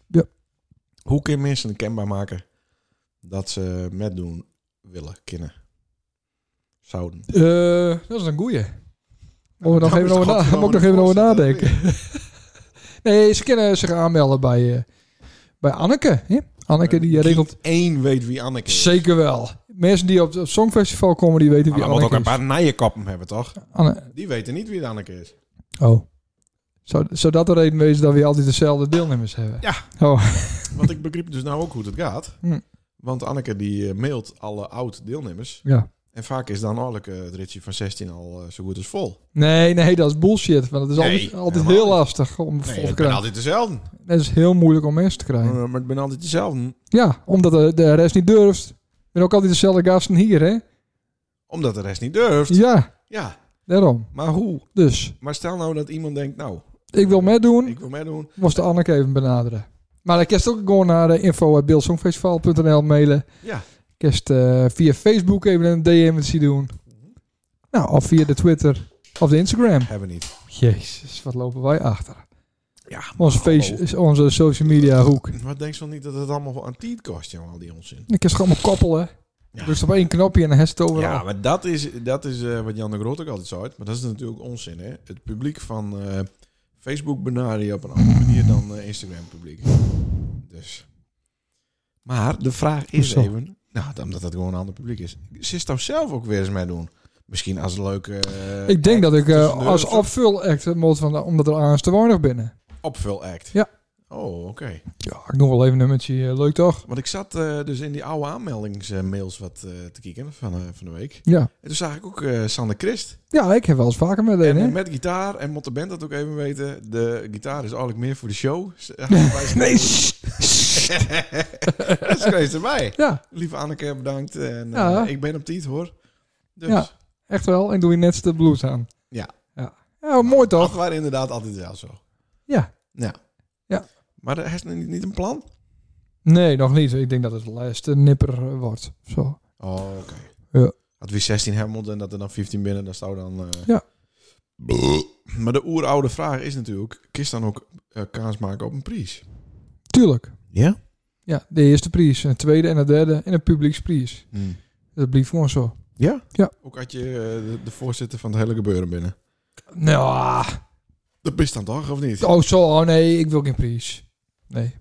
C: Ja.
A: Hoe kun je mensen kenbaar maken dat ze met doen willen, kunnen? Zouden.
C: Eh, dat is een goeie. Moet ik nog
A: Dan
C: even
A: is
C: over, na,
A: godverdomme
C: moet ik nog
A: de
C: even over
A: voorzitter
C: nadenken. nee, ze kunnen zich aanmelden bij, eh, bij Anneke. Hè? Anneke die eh, regelt
A: Geen één weet wie Anneke is.
C: zeker wel. Mensen die op het Songfestival komen, die weten
A: Maar
C: wie
A: dan moet ook
C: Anneke
A: een
C: is.
A: paar nijenkappen hebben, toch?
C: Anne-
A: Die weten niet wie Anneke is.
C: oh. Zou, zou dat de reden wezen dat we altijd dezelfde deelnemers hebben?
A: Ja.
C: Oh,
A: Want ik begreep dus nou ook hoe het gaat.
C: Hm.
A: Want Anneke die eh, mailt alle oud-deelnemers.
C: ja.
A: En vaak is dan eigenlijk eh, het ritje van 16 al eh, zo goed als vol.
C: Nee, nee, dat is bullshit. Want het is
A: Nee,
C: altijd, altijd
A: helemaal
C: heel
A: niet.
C: lastig om
A: Nee,
C: vol te
A: ik ben
C: krijgen.
A: altijd dezelfde.
C: Het is heel moeilijk om mensen te krijgen.
A: Eh, maar ik ben altijd dezelfde.
C: Ja, omdat de, de rest niet durft. Ik ben ook altijd dezelfde gasten hier, hè?
A: Omdat de rest niet durft.
C: Ja,
A: Ja,
C: daarom.
A: maar hoe?
C: Dus,
A: Maar stel nou dat iemand denkt, nou,
C: ik wil meedoen.
A: ik wil meedoen.
C: Moest de Anneke even benaderen. Maar dan kerst ook gewoon naar eh, info.beeldsongfestival.nl mailen.
A: Ja.
C: Kerst eh, via Facebook even een DM'tje doen. Nou, of via de Twitter of de Instagram.
A: Hebben we niet.
C: Jezus, wat lopen wij achter.
A: Ja,
C: Onze, face, is onze social media hoek.
A: Maar denk je wel niet dat het allemaal aan tijd kost, jongen, al die onzin?
C: Dan kun je ze allemaal koppelen.
A: Ja.
C: Dus op één knopje en dan heeft het overal.
A: Ja, maar dat is, dat is eh, wat Jan de Groot ook altijd zei. Maar dat is natuurlijk onzin, hè? Het publiek van eh, Facebook benader je op een andere manier dan eh, Instagram-publiek. Dus. Maar de vraag is
C: Hoezo?
A: even... Nou, omdat dat gewoon een ander publiek is. Zit nou zelf ook weer eens mee doen? Misschien als een leuke... eh,
C: Ik denk dat ik eh,
A: tussen de
C: als
A: ruggen.
C: opvul-act moet, van, omdat er aan te weinig binnen.
A: opvul-act.
C: Ja.
A: Oh, oké.
C: Ja, ik noem wel even een nummertje. eh, Leuk toch?
A: Want ik zat eh, dus in die oude aanmeldingsmails wat eh, te kijken van, eh, van de week.
C: Ja.
A: En toen zag ik ook eh Sander Christ.
C: Ja, ik heb wel eens vaker met een,
A: En
C: hè?
A: met gitaar, en moet de band dat ook even weten, de gitaar is eigenlijk meer voor de show. Ze- Hij is
C: Nee,
A: dat is geweest erbij.
C: Ja,
A: Lieve Anneke, bedankt. En, eh,
C: Ja.
A: ik ben op tijd hoor. Dus,
C: Ja, echt wel. Ik doe je net de blues aan.
A: Ja.
C: Ja, ja mooi
A: dat
C: toch?
A: waren inderdaad altijd wel zo.
C: Ja.
A: Ja.
C: Ja.
A: Maar er is niet, niet een plan?
C: Nee, nog niet. Ik denk dat het de laatste nipper eh, wordt. Zo.
A: Oh, oké.
C: Ja.
A: Dat we 16 hebben moeten en dat er dan 15 binnen, dat zou dan... eh,
C: Ja.
A: Maar de oeroude vraag is natuurlijk, kist dan ook eh, kaas maken op een prijs?
C: Tuurlijk.
A: Ja.
C: Ja, de eerste prijs, en de tweede en de derde en een publieksprijs. Dat blijft gewoon zo.
A: Ja?
C: Ja.
A: Hmm. Ook had je eh, de, de voorzitter van het hele gebeuren binnen.
C: Nou,
A: Dat is dan toch, of niet?
C: oh zo, oh nee, ik wil geen prijs. Nee.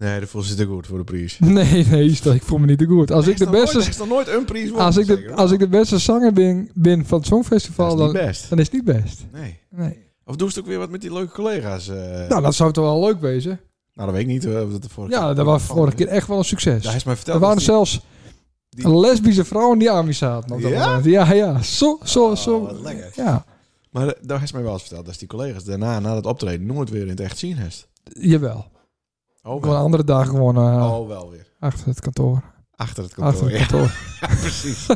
A: Nee, de voorzitter goed voor de prijs.
C: Nee, nee, stel, ik voel me niet te goed. Als ik de beste
A: Er is dan nooit een prijs voor.
C: Als ik, de,
A: zeker?
C: als ik de beste zanger ben, ben van het
A: Dat
C: Songfestival,
A: is niet
C: dan,
A: best.
C: dan is het niet best.
A: Nee.
C: Nee.
A: Of doe ze het ook weer wat met die leuke collega's? eh?
C: Nou, dat zou toch wel leuk wezen?
A: Nou, dat weet ik niet. eh, of dat de vorige
C: Ja, dat was vorige keer echt wel een succes.
A: Daar is mij verteld.
C: Er waren
A: dat die-
C: zelfs
A: die-
C: lesbische vrouwen die aan me zaten. op dat
A: Ja?
C: moment. Ja, ja. Zo, zo,
A: Oh,
C: zo.
A: wat lekker.
C: Ja,
A: Maar eh, daar is mij wel eens verteld dat die collega's daarna, na dat optreden, nooit weer in het echt zien heeft.
C: jawel.
A: Oh,
C: Gewoon
A: wel.
C: andere dagen gewoon eh,
A: Oh, wel weer.
C: achter het kantoor.
A: Achter het kantoor.
C: Achter het
A: ja,
C: kantoor.
A: precies.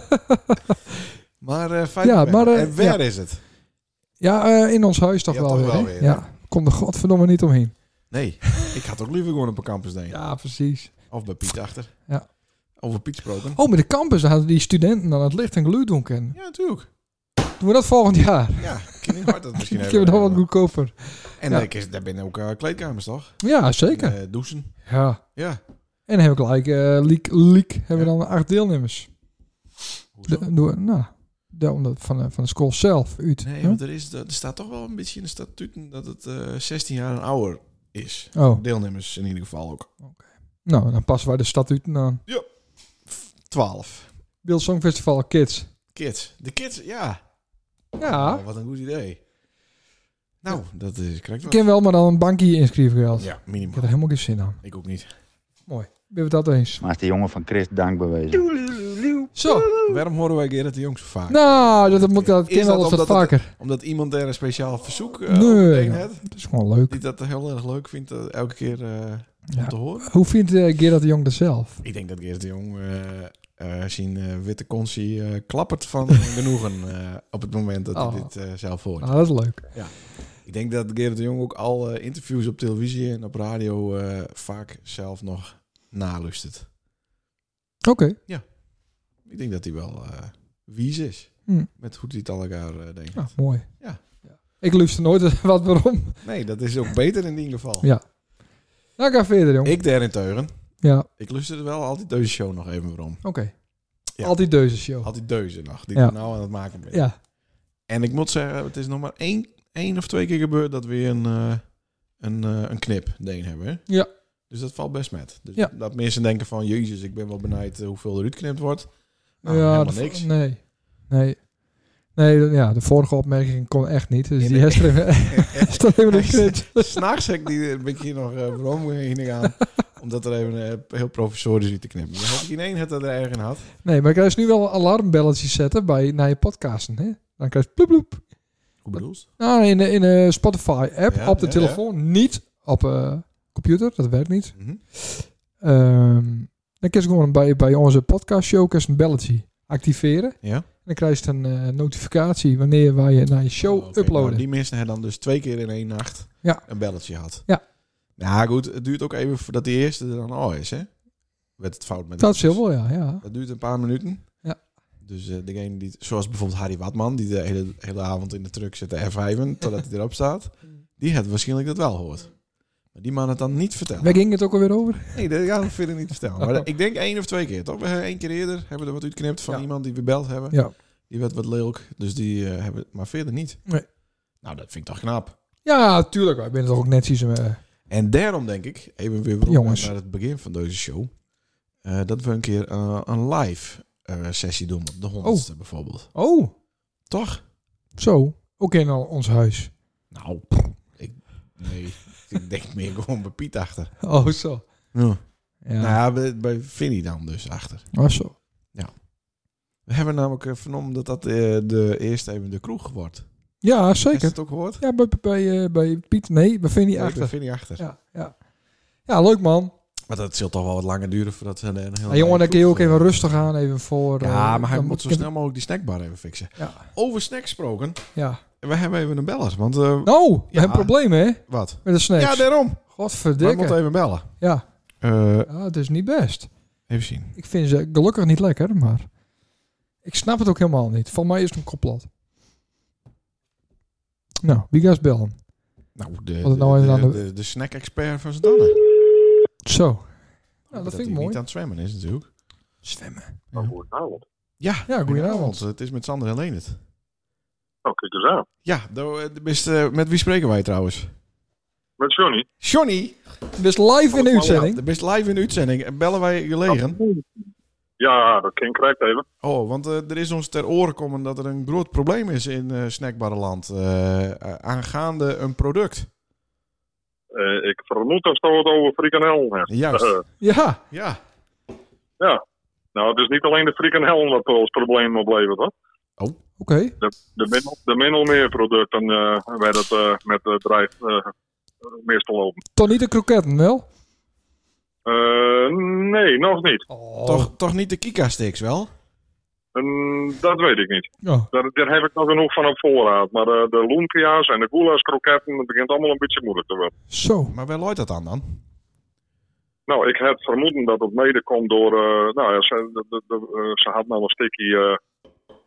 A: maar eh fijn.
C: Ja, maar, eh,
A: en waar is het?
C: Ja, eh, in ons huis toch
A: Ja,
C: wel
A: toch
C: weer.
A: wel
C: hè?
A: weer, hè?
C: ja, kom er godverdomme niet omheen.
A: Nee, ik had ook liever gewoon op een campus denken.
C: Ja, precies.
A: Of bij Piet achter.
C: Ja.
A: Over Piet gesproken.
C: Oh, met de campus daar hadden die studenten dan het licht en geluid doen kennen.
A: Ja, natuurlijk.
C: Doen we dat volgend jaar?
A: Ja, Kim Hart dat misschien
C: Ik
A: even.
C: heb het al wat goedkoper.
A: En
C: Ja.
A: eh, Chris, daar binnen ook eh, kleedkamers, toch?
C: Ja, zeker.
A: En, eh, douchen.
C: Ja.
A: Ja.
C: En dan heb ik gelijk, eh leak, leak, hebben we dan acht deelnemers.
A: Hoezo?
C: De, door, nou, de, omdat van, de- van de school zelf uit.
A: Nee,
C: hè?
A: want er, is, er staat toch wel een beetje in de statuten dat het eh, 16 jaar en ouder is.
C: Oh,
A: Deelnemers in ieder geval ook.
C: nou, dan passen wij de statuten aan.
A: 12.
C: Beeld Songfestival Kids.
A: Kids. De kids, ja.
C: Ja,
A: Oh, wat een goed idee. Nou, dat is correct.
C: ik ken wel maar dan een bankje inschrijven geld.
A: Ja,
C: Ik
A: minimaal.
C: heb er helemaal geen zin aan.
A: Ik ook niet.
C: Ben je dat eens?
D: Maar is de jongen van Chris dankbewezen.
C: Zo,
A: Waarom horen wij Gerrit de Jong zo vaak?
C: nou, dat, dat moet dat
A: Is
C: ken
A: dat
C: wel eens wat
A: omdat het-
C: vaker.
A: Omdat iemand er een speciaal verzoek eh
C: Nee,
A: nee,
C: ja.
A: had.
C: Dat is gewoon leuk.
A: Die dat heel erg leuk vindt eh, elke keer eh, om
C: Ja.
A: te horen.
C: Hoe vindt eh, Gerard de Jong dat zelf?
A: Ik denk dat Geert de Jong eh, eh, zijn eh, witte consie eh, klappert van genoegen eh, op het moment dat hij
C: Oh.
A: dit eh, zelf hoort.
C: Nou, dat is leuk.
A: Ik denk dat Geert de Jong ook al eh, interviews op televisie en op radio eh, vaak zelf nog nalustert.
C: Oké,
A: Ik denk dat hij wel eh, wies is
C: Hm.
A: met hoe hij het aan elkaar eh, denkt.
C: nou, mooi.
A: Ja.
C: Ik luister nooit wat waarom.
A: Nee, dat is ook beter in ieder geval.
C: Ja. Nou, ga verder, jong.
A: Ik daarenteugen,
C: Ja,
A: ik luister wel altijd deze show nog even waarom.
C: oké.
A: Ja.
C: Altijd deuze show.
A: Altijd deuzen nog, die
C: Ja.
A: ik nou aan het maken ben.
C: Ja.
A: En ik moet zeggen, het is nog maar één, één of twee keer gebeurd dat we een, eh, een, eh, een knip deen hebben. hè?
C: Ja.
A: Dus dat valt best met. Dus
C: Ja.
A: dat mensen denken van, jezus, ik ben wel benijd eh, hoeveel eruit geknipt wordt. Nou,
C: ja,
A: helemaal
C: de-
A: niks.
C: Nee. Nee. Nee, de- ja, de vorige opmerking kon echt niet. Dus
A: Nee,
C: die
A: nee.
C: heeft er even- is er even een knit.
A: S'nachts heb ik die een beetje hier nog eh waarom heen gaan. Omdat er even eh, heel professorisch iets te knippen. Dan had ik in één het er erg in had.
C: Nee, maar ik kan dus nu wel alarmbelletjes zetten bij, naar je podcasten. Hè? Dan krijg je ploep ploep.
A: Hoe bedoelst?
C: Nou, in de, in de Spotify-app
A: Ja,
C: op de
A: ja,
C: telefoon. Niet op eh, computer, dat werkt niet.
A: Mhm.
C: Ehm, dan kun je gewoon bij, bij onze podcast-show kun je een belletje activeren.
A: Ja.
C: En dan krijg je een eh, notificatie wanneer wij je naar je show
A: Oh, oké.
C: uploaden.
A: Nou, die mensen hebben dan dus twee keer in één nacht
C: Ja.
A: een belletje had.
C: Ja.
A: Nou goed, het duurt ook even voordat die eerste er dan al is, hè? Werd het fout met
C: Dat is
A: de-
C: heel wel, ja. ja.
A: Dat duurt een paar minuten.
C: Ja.
A: Dus eh, degene die, zoals bijvoorbeeld Harry Watman, die de hele, hele avond in de truck zit te f totdat hij erop staat,
C: Mm.
A: die had waarschijnlijk dat wel gehoord. Maar die man het dan niet vertellen.
C: Waar ging het ook alweer over?
A: Nee, dat ga ik verder niet vertellen. Maar ik denk één of twee keer, toch? We hebben één keer eerder hebben we er wat uitknipt van
C: Ja.
A: iemand die we beld hebben.
C: Ja.
A: Die werd wat leuk, dus die eh, hebben het maar verder niet.
C: Nee.
A: Nou, dat vind ik toch knap.
C: Ja, tuurlijk. Wij zijn toch ook net zo... eh,
A: En daarom denk ik, even weer terug
C: Jongens.
A: naar het begin van deze show, eh, dat we een keer eh, een live eh, sessie doen op de honderdste bijvoorbeeld.
C: oh,
A: Toch?
C: zo. Ook in al ons huis.
A: Nou, pff, ik, nee, ik denk meer gewoon bij Piet achter.
C: Oh, zo. Ja,
A: Nou ja, bij, bij Vinnie dan dus achter.
C: oh, zo.
A: We hebben namelijk eh, vernomen dat dat eh, de eerste even de kroeg wordt.
C: Ja,
A: Heb je
C: zeker.
A: het ook gehoord?
C: Ja, bij, bij, eh, bij Piet. Nee, bij Vinnie
A: Nee,
C: achter.
A: dat vind ik achter.
C: Ja, ja. ja, leuk man.
A: Maar dat zult toch wel wat langer duren voordat ze een hele
C: Ja, Nou, jongen, dan kun je ook even rustig aan, even voor...
A: Ja,
C: eh,
A: maar hij
C: dan
A: moet zo
C: ik-
A: snel mogelijk die snackbar even fixen.
C: Ja.
A: Over snacks gesproken,
C: ja.
A: we hebben even een beller. Want, eh,
C: Nou, we
A: Ja.
C: hebben problemen, hè?
A: wat?
C: Met de snacks.
A: Ja, daarom. We
C: Godverdikke.
A: moeten even bellen.
C: Ja.
A: Eh,
C: ja, het is niet best.
A: even zien.
C: Ik vind ze gelukkig niet lekker, maar... Ik snap het ook helemaal niet. Van mij is het een complot. Nou, wie gaat bellen?
A: Nou, de,
C: Wat het nou even
A: de,
C: aan
A: de,
C: de-
A: de, de snack-expert van Zandannen.
C: Zo. Nou, dat vind ik
A: hij niet
C: mooi.
A: aan het zwemmen is natuurlijk.
C: Zwemmen.
G: Goedenavond.
A: Ja, eh,
C: Ja, goedenavond.
A: Het is met Sander en Leendert.
G: Nou, kijk eens aan.
A: Ja, nou, eh, de beste, eh, met wie spreken wij trouwens?
G: Met Johnny.
A: Johnny.
C: Dus live in de
A: Ja,
C: uitzending.
A: de best live in de uitzending. Eh, Bellen wij gelegen?
G: Ja, dat kind krijgt even.
A: Oh, want eh, er is ons ter oren komen dat er een groot probleem is in eh snackbarrenland eh, eh, aangaande een product.
G: Eh, ik vermoed dat ze het over frikandellen hebben.
A: Juist.
G: Eh,
C: Ja.
A: Ja.
G: nou, het is niet alleen de frikandellen dat ons probleem oplevert, hoor.
C: Oké.
G: Er zijn al- er zijn al meer producten eh, waar dat eh, met het bedrijf eh mis te lopen.
C: Toch niet de kroketten, wel?
G: Eh, nee, nog niet.
C: Oh.
A: Toch, toch niet de Kika-sticks wel?
G: Mm, dat weet ik niet.
C: Ja.
G: Daar, daar heb ik nog genoeg van op voorraad. Maar eh, de lumpia's en de goula's kroketten, dat begint allemaal een beetje moeilijk te worden.
C: Zo.
A: Maar waar loopt dat aan dan?
G: Nou, ik heb vermoeden dat het mede komt door. eh, nou ja, ze, de, de- de- eh, ze hadden al een stukje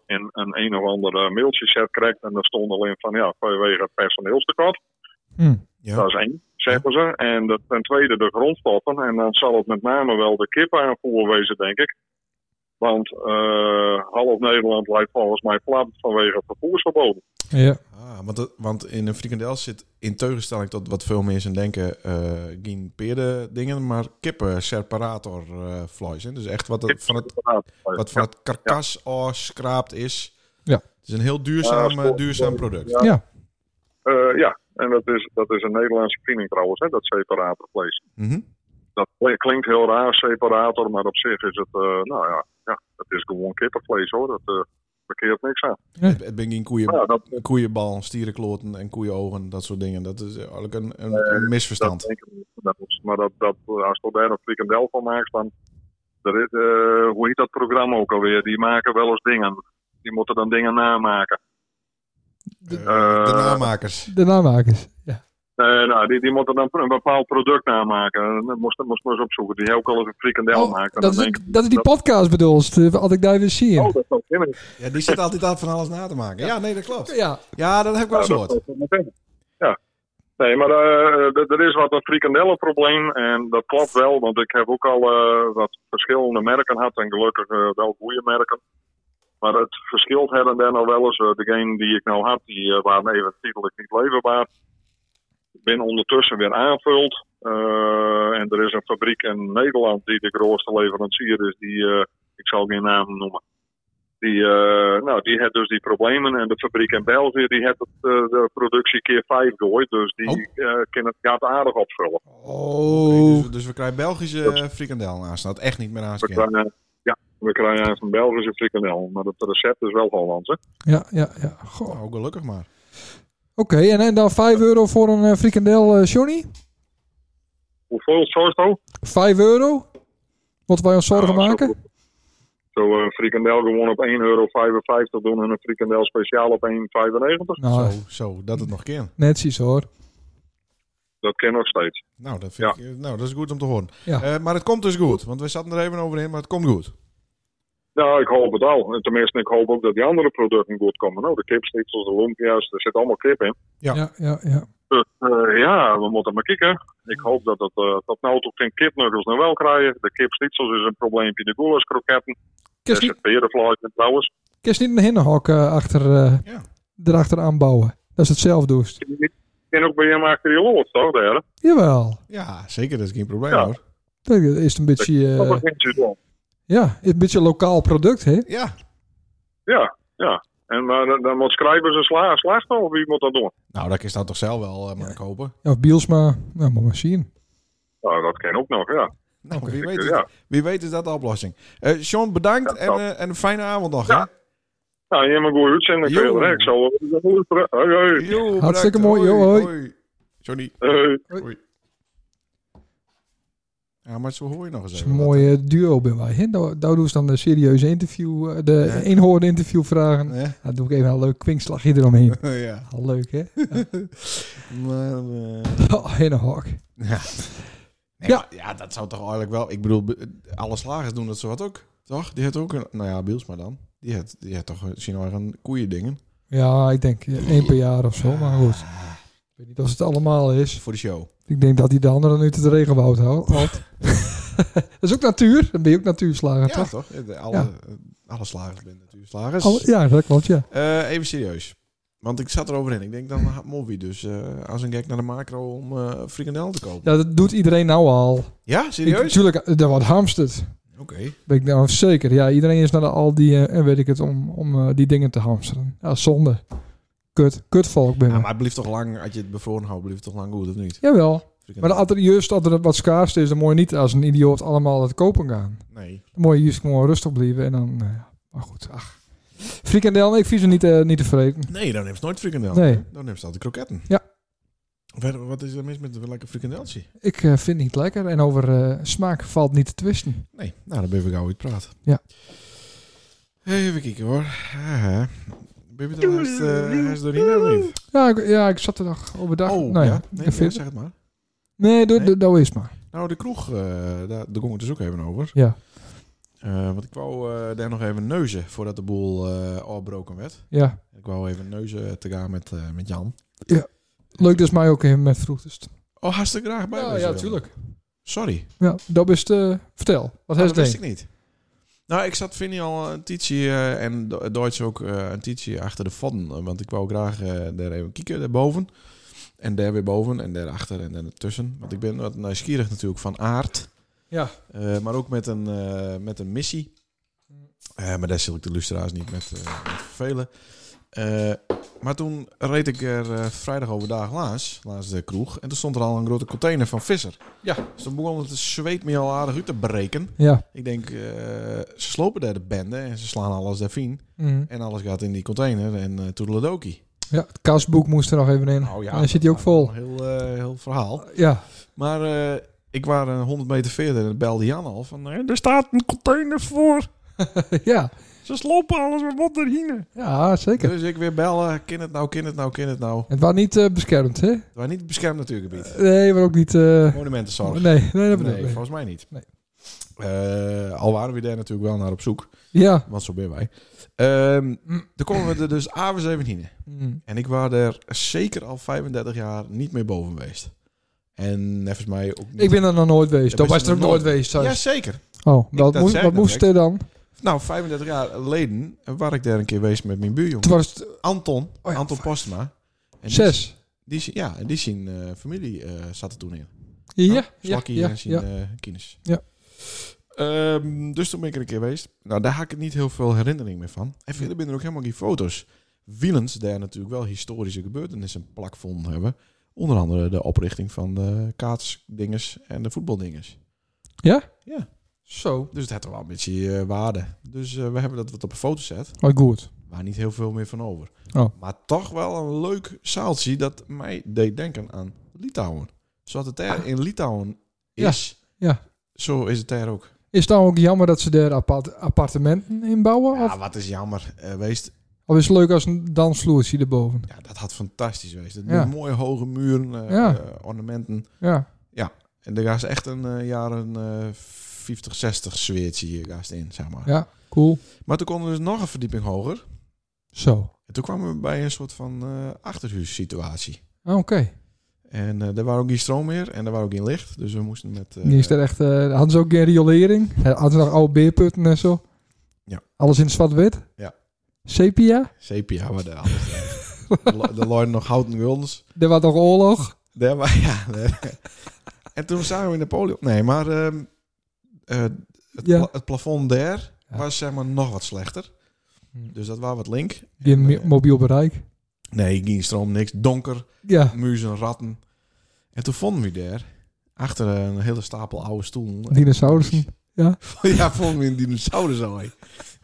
G: in een een of ander eh, mailtje set gekregen. En daar stond alleen van ja, vanwege het personeelstekort.
C: Hm.
G: Dat is één, zeggen ze. En dat, ten tweede de grondstoffen. En dan zal het met name wel de kipaanvoer wezen, denk ik. Want eh, half Nederland lijkt volgens mij plat vanwege het vervoersverbod.
C: Ja.
A: Ah, want, het- want in een frikandel zit in tegenstelling tot wat veel mensen denken, eh geen peerde dingen, maar kippen separator eh vlees, hè? Dus echt wat, het- van, het, wat van het karkas afschraapt is.
C: Ja.
A: Het is een heel duurzaam,
G: Ja,
A: eh, duurzaam product.
G: Ja.
C: Ja.
G: Eh, ja, en dat is, dat is een Nederlandse kiening trouwens, hè, dat separate vlees.
A: Mhm.
G: dat klinkt heel raar, separator, maar op zich is het, eh, nou ja, ja, het is gewoon kippenvlees hoor. Dat eh verkeert niks aan.
A: Het, het ben geen koeien,
G: Ja, dat,
A: koeienbal, stierenkloten en koeienogen, dat soort dingen. Dat is eigenlijk een, een, een
G: dat
A: misverstand.
G: denk ik niet. Dat is- Maar dat, dat, eh, als je daar een frikandel van maakt, dan, er is, eh, hoe heet dat programma ook alweer? Die maken wel eens dingen. Die moeten dan dingen namaken.
A: Eh,
G: Eh,
A: de namakers.
C: De naammakers. Ja.
G: Eh, nou, die, die moeten dan een bepaald product namaken. En Dat moest, moest maar eens opzoeken. Die ook al eens een frikandel
C: Oh,
G: maken.
C: dat,
G: Dan
C: is,
G: denk ik,
C: dat is die podcast bedoeld. eh, Had ik daar weer zien.
G: Oh, dat zou kunnen.
A: Ja, die zit altijd aan van alles na te maken. Ja, nee, dat klopt.
C: Ja.
A: Ja, dat heb ik wel eens
G: Ja,
A: gehoord.
G: dat zal het maar zijn. Ja. Nee, maar eh, d- er is wat een frikandellenprobleem en dat klopt wel, want ik heb ook al eh, wat verschillende merken gehad en gelukkig eh, wel goede merken. Maar het verschilt her en der nou wel eens. Eh, degene die ik nou had, die eh, waren even tijdelijk niet leverbaar. Ik ben ondertussen weer aanvuld. Eh, en er is een fabriek in Nederland die de grootste leverancier is. Die, eh, ik zal geen naam noemen. Die, eh, nou, die had dus die problemen. En de fabriek in België die had het, eh, de productie keer vijf gooit. Dus die eh, kan het gaat aardig opvullen.
A: Oké,
C: Oh.
A: dus, dus we krijgen Belgische eh, frikandel naast. Dat echt niet meer aan
G: We krijgen, ja, we krijgen een Belgische frikandel. Maar het recept is wel Hollands. Hè?
C: Ja, ja, ja. Goh. Oké,
A: Oh, gelukkig maar.
C: en, en dan 5 euro voor een eh, frikandel, eh Johnny?
G: Hoeveel is het zo?
C: 5 euro? Moeten wij ons zorgen
G: Nou,
C: maken?
G: Zo, zo eh, een frikandel gewoon op 1,55 euro doen en een frikandel speciaal op 1,95.
A: Zo,
C: Nou,
A: zo, dat het nog kan.
C: netjes hoor.
G: Dat ken nog steeds.
A: Nou, dat, vind
G: Ja.
A: ik, eh, nou, dat is goed om te horen.
C: Ja.
A: Eh, maar het komt dus goed. Want we zaten er even overheen, maar het komt goed.
G: Ja, Nou, ik hoop het al. En tenminste, ik hoop ook dat die andere producten goed komen. Nou, de kipstiksels, de lumpia's, er zit allemaal kip in.
A: Ja.
C: Ja, ja, ja.
G: Dus eh, ja, we moeten maar kijken. Ik hoop dat, dat, eh, dat nou toch geen kipnuggels nog wel krijgen. De kipstiksels is Dus een probleempje. De goulastkroketten, er
C: Kist
G: zit berenvlees in trouwens.
C: niet, niet een hinnenhok eh, achter, eh,
A: Ja.
C: erachter aanbouwen. Dat is het zelf doest.
G: En ook bij hem achter die lood, toch? Daar.
C: Jawel.
A: Ja, zeker. Dat is geen probleem
G: Ja.
A: hoor.
C: Dat is een beetje,
A: Oh,
G: Dat
C: eh,
G: begint je dan.
C: ja, een beetje lokaal product, hè?
A: Ja.
G: Ja, ja. En maar dan, dan moet schrijvers een sla slachtoffer, of wie moet dat doen?
A: Nou, dat is dan toch zelf wel, eh, maar kopen.
C: Ja, of Bielsma. Nou, maar maar zien.
G: Nou, dat ken ook nog, ja.
A: Nou, wie, weet
G: Ja.
A: is, wie weet is dat de oplossing. Eh Sean, bedankt
G: Ja,
A: en,
G: dat-
A: eh, en een fijne avond nog.
G: Ja. Nou, je hebt een goede uitzending
A: Jo.
G: verder, hè. Ik zal wel luisteren. Hoi,
A: Hè?
G: hoi.
A: Jo, bedankt.
C: Hartstikke mooi, jo, hoi.
A: Johnny.
G: Hoi.
A: Ja, maar zo hoor je nog eens
C: Dat is
A: even.
C: een mooi eh, duo bij wij. hè? Daar daar doen ze dan een serieuze interview, eh, de
A: Ja.
C: inhoorde interviewvragen.
A: Eh?
C: Dan doe ik even een leuk kwinkslagje eromheen.
A: ja.
C: Al leuk, hè?
A: Maar, eh,
C: Oh, hinnenhok.
A: ja. Nee,
C: Ja.
A: maar- ja, dat zou toch eigenlijk wel... Ik bedoel, be- alle slagers doen dat zo wat ook. Toch? Die heeft ook een... Nou ja, Biels maar dan. Die heeft, die heeft toch eh, zien eigen koeien dingen.
C: Ja, ik denk eh, één per jaar of zo, maar goed. Ik weet niet of het allemaal is.
A: Voor de show.
C: Ik denk dat hij de anderen nu het regenwoud houdt. houdt. dat is ook natuur. Dan ben je ook natuurslager,
A: Ja, dus-
C: toch?
A: toch? De- Alle,
C: Ja.
A: eh, alle slagers zijn natuurlijk slagers.
C: Al- ja, dat klopt, ja.
A: Eh, even serieus. Want ik zat erover in. Ik denk, dan had Moby dus eh, als een gek naar de macro om eh frikandel te kopen.
C: ja. Dat doet iedereen nou al.
A: Ja,
C: Natuurlijk,
A: serieus?
C: tuurlijk, eh, dat wordt hamsterd.
A: Oké.
C: Ben ik nou zeker. Ja, iedereen is naar de Aldi eh, en weet ik het om, om eh, die dingen te hamsteren. Ja, zonde. Kut. Kutvolk ben ik.
A: Ja, maar het blijft toch lang, als je het bevroren houdt, blijft het toch lang goed, of niet?
C: Jawel. Maar
A: Frikandel.
C: als er juist als er wat schaars is, dan moet je niet als een idioot allemaal het kopen gaan.
A: Nee.
C: Dan moet je juist gewoon rustig blijven en dan... nou ja, maar goed, ach. Frikandel, ik vies er niet, eh, niet te vreten.
A: Nee, dan neemt ze nooit frikandel.
C: Nee.
A: Dan neemt ze altijd kroketten.
C: Ja.
A: Verder, wat is er mis met een lekker frikandeltje?
C: Ik eh, vind het niet lekker en over eh, smaak valt niet te twisten.
A: Nee, nou, dan ben ik gauw uit praten.
C: Ja.
A: Even kijken hoor. Aha. Ben je er al eens, eh, eens doorheen of niet?
C: Ja, ik, ja, ik zat er nog overdag.
A: Oh,
C: nou ja.
A: ja. Nee,
C: ik
A: ja,
C: vind-
A: zeg het maar.
C: nee, doe,
A: Nee?
C: doe- doe eens maar.
A: Nou, de kroeg, eh, daar, daar ging het dus ook even over.
C: Ja.
A: Eh, want ik wou eh, daar nog even neuzen voordat de boel eh afbroken werd.
C: Ja.
A: Ik wou even neuzen te gaan met, eh, met Jan.
C: Leuk dus mij ook in met vroegtest.
A: Oh, hartstikke graag bij
C: Ja,
A: wezen,
C: ja,
A: Jan.
C: tuurlijk.
A: Sorry,
C: Ja, dat is eh vertel. Wat
A: Oh,
C: heeft
A: dat wist
C: het
A: ik niet. Nou, ik zat Vinnie al een tietje eh, en Do- Duits ook eh, een tietje achter de vodden. eh, Want ik wou graag eh, daar even kijken, daarboven. En daar weer boven en daarachter en daartussen. Want ik ben wat nieuwsgierig natuurlijk van aard.
C: Ja.
A: Eh, maar ook met een, eh, met een missie. Eh, maar daar zil ik de lustra's niet met, eh, met vervelen. Eh, maar toen reed ik er eh, vrijdag overdag langs, langs de kroeg. En toen stond er al een grote container van Visser.
C: Ja.
A: Dus toen begon het zweet me al aardig uit te breken.
C: Ja.
A: Ik denk, eh, ze slopen daar de bende en ze slaan alles daarin.
C: Mhm.
A: En alles gaat in die container en eh toedeledokie.
C: ja, het kasboek moest er nog even in.
A: Nou
C: en dan Ah, zit hij ook
A: dat was
C: vol.
A: een Heel, eh, heel verhaal.
C: Ja.
A: Maar eh, ik was eh, 100 meter verder en belde Jan al van... eh, er staat een container voor.
C: ja.
A: Ze slopen alles, we moeten erheen.
C: Ja, zeker.
A: Dus ik weer bellen. Ken het nou, ken het nou, ken het nou.
C: Het was niet eh, beschermd, hè?
A: Het was niet het beschermd natuurgebied.
C: Nee, maar ook niet... eh,
A: Monumentenzorg.
C: nee, nee, dat bedoel
A: Nee,
C: ik.
A: volgens mij niet.
C: Nee.
A: Eh, al waren we daar natuurlijk wel naar op zoek.
C: Ja.
A: Want zo ben wij. Ehm
C: Mm.
A: dan komen we er dus avonds even in.
C: Mhm.
A: En ik was er zeker al 35 jaar niet meer boven geweest. En volgens mij ook niet.
C: Ik ben er nog nooit geweest.
A: Ja,
C: Dat
A: ben
C: was
A: je
C: er ook
A: nog
C: nooit
A: nooit-
C: geweest. zei
A: Ja,
C: ze.
A: zeker.
C: Oh,
A: Ik-
C: wat
A: dat
C: moest,
A: zei
C: wat
A: ik
C: moest
A: net.
C: er dan?
A: Nou, 35 jaar geleden waar ik daar een keer geweest met mijn buurjongen.
C: Toen was het
A: Anton,
C: Oh ja,
A: Anton
C: fuck.
A: Postma. En Die,
C: zes.
A: die, zi- ja, en die zijn eh, familie eh, zat er toen in. Nou,
C: Ja, ja,
A: Slakkie
C: ja,
A: en zijn
C: ja.
A: eh, kinders.
C: Ja.
A: Ehm, dus toen ben ik er een keer geweest. Nou, daar heb ik niet heel veel herinnering meer van. En verder zijn er ook helemaal geen foto's. Wielens, daar natuurlijk wel historische gebeurtenissen plak vonden hebben. Onder andere de oprichting van de kaatsdingers en de voetbaldingers.
C: Zo.
A: Dus het had er wel een beetje eh, waarde. Dus eh, we hebben dat wat op een foto zet.
C: Maar goed.
A: Waar niet heel veel meer van over.
C: Oh.
A: Maar toch wel een leuk zaaltje dat mij deed denken aan Litouwen. Zoals het daar in Litouwen
C: Ah. Ja,
A: is,
C: ja.
A: zo is het daar ook.
C: Is het nou ook jammer dat ze daar apart- appartementen in bouwen?
A: Ja,
C: Of,
A: wat is jammer eh, geweest.
C: of is het leuk als een dansvloertje erboven?
A: Ja, dat had fantastisch geweest. Met
C: Ja.
A: Mooie hoge muren, eh,
C: Ja.
A: eh, ornamenten.
C: Ja.
A: En daar was echt een eh, jaren eh 50, 60 zweertje hier gaast in, zeg maar.
C: Ja, cool.
A: Maar toen konden we dus nog een verdieping hoger.
C: Zo.
A: En toen kwamen we bij een soort van eh achterhuissituatie.
C: Ah, Oké.
A: En eh er waren ook geen stroom meer en er waren ook geen licht. Dus we moesten met... eh,
C: Die is er echt, eh, hadden ze ook geen riolering? Eh, Hadden ze nog oude beerputten en zo?
A: Ja.
C: Alles in zwart-wit?
A: Ja.
C: Sepia?
A: Sepia, maar daar alles. Er looiden nog houten guldens.
C: Er was nog oorlog?
A: Daar wa- ja. daar- en toen zagen we Napoleon. Nee, maar ehm, eh, het,
C: Ja.
A: pla- het plafond daar
C: Ja.
A: was zeg maar nog wat slechter.
C: Hm.
A: Dus dat was wat link.
C: Die
A: En,
C: mi-
A: eh,
C: mobiel bereik?
A: nee, geen stroom, niks. Donker,
C: Ja.
A: muizen, ratten. En toen vonden we daar, achter een hele stapel oude stoelen...
C: Dinosaurussen? Ja.
A: ja, vonden we een dinosauruszooi.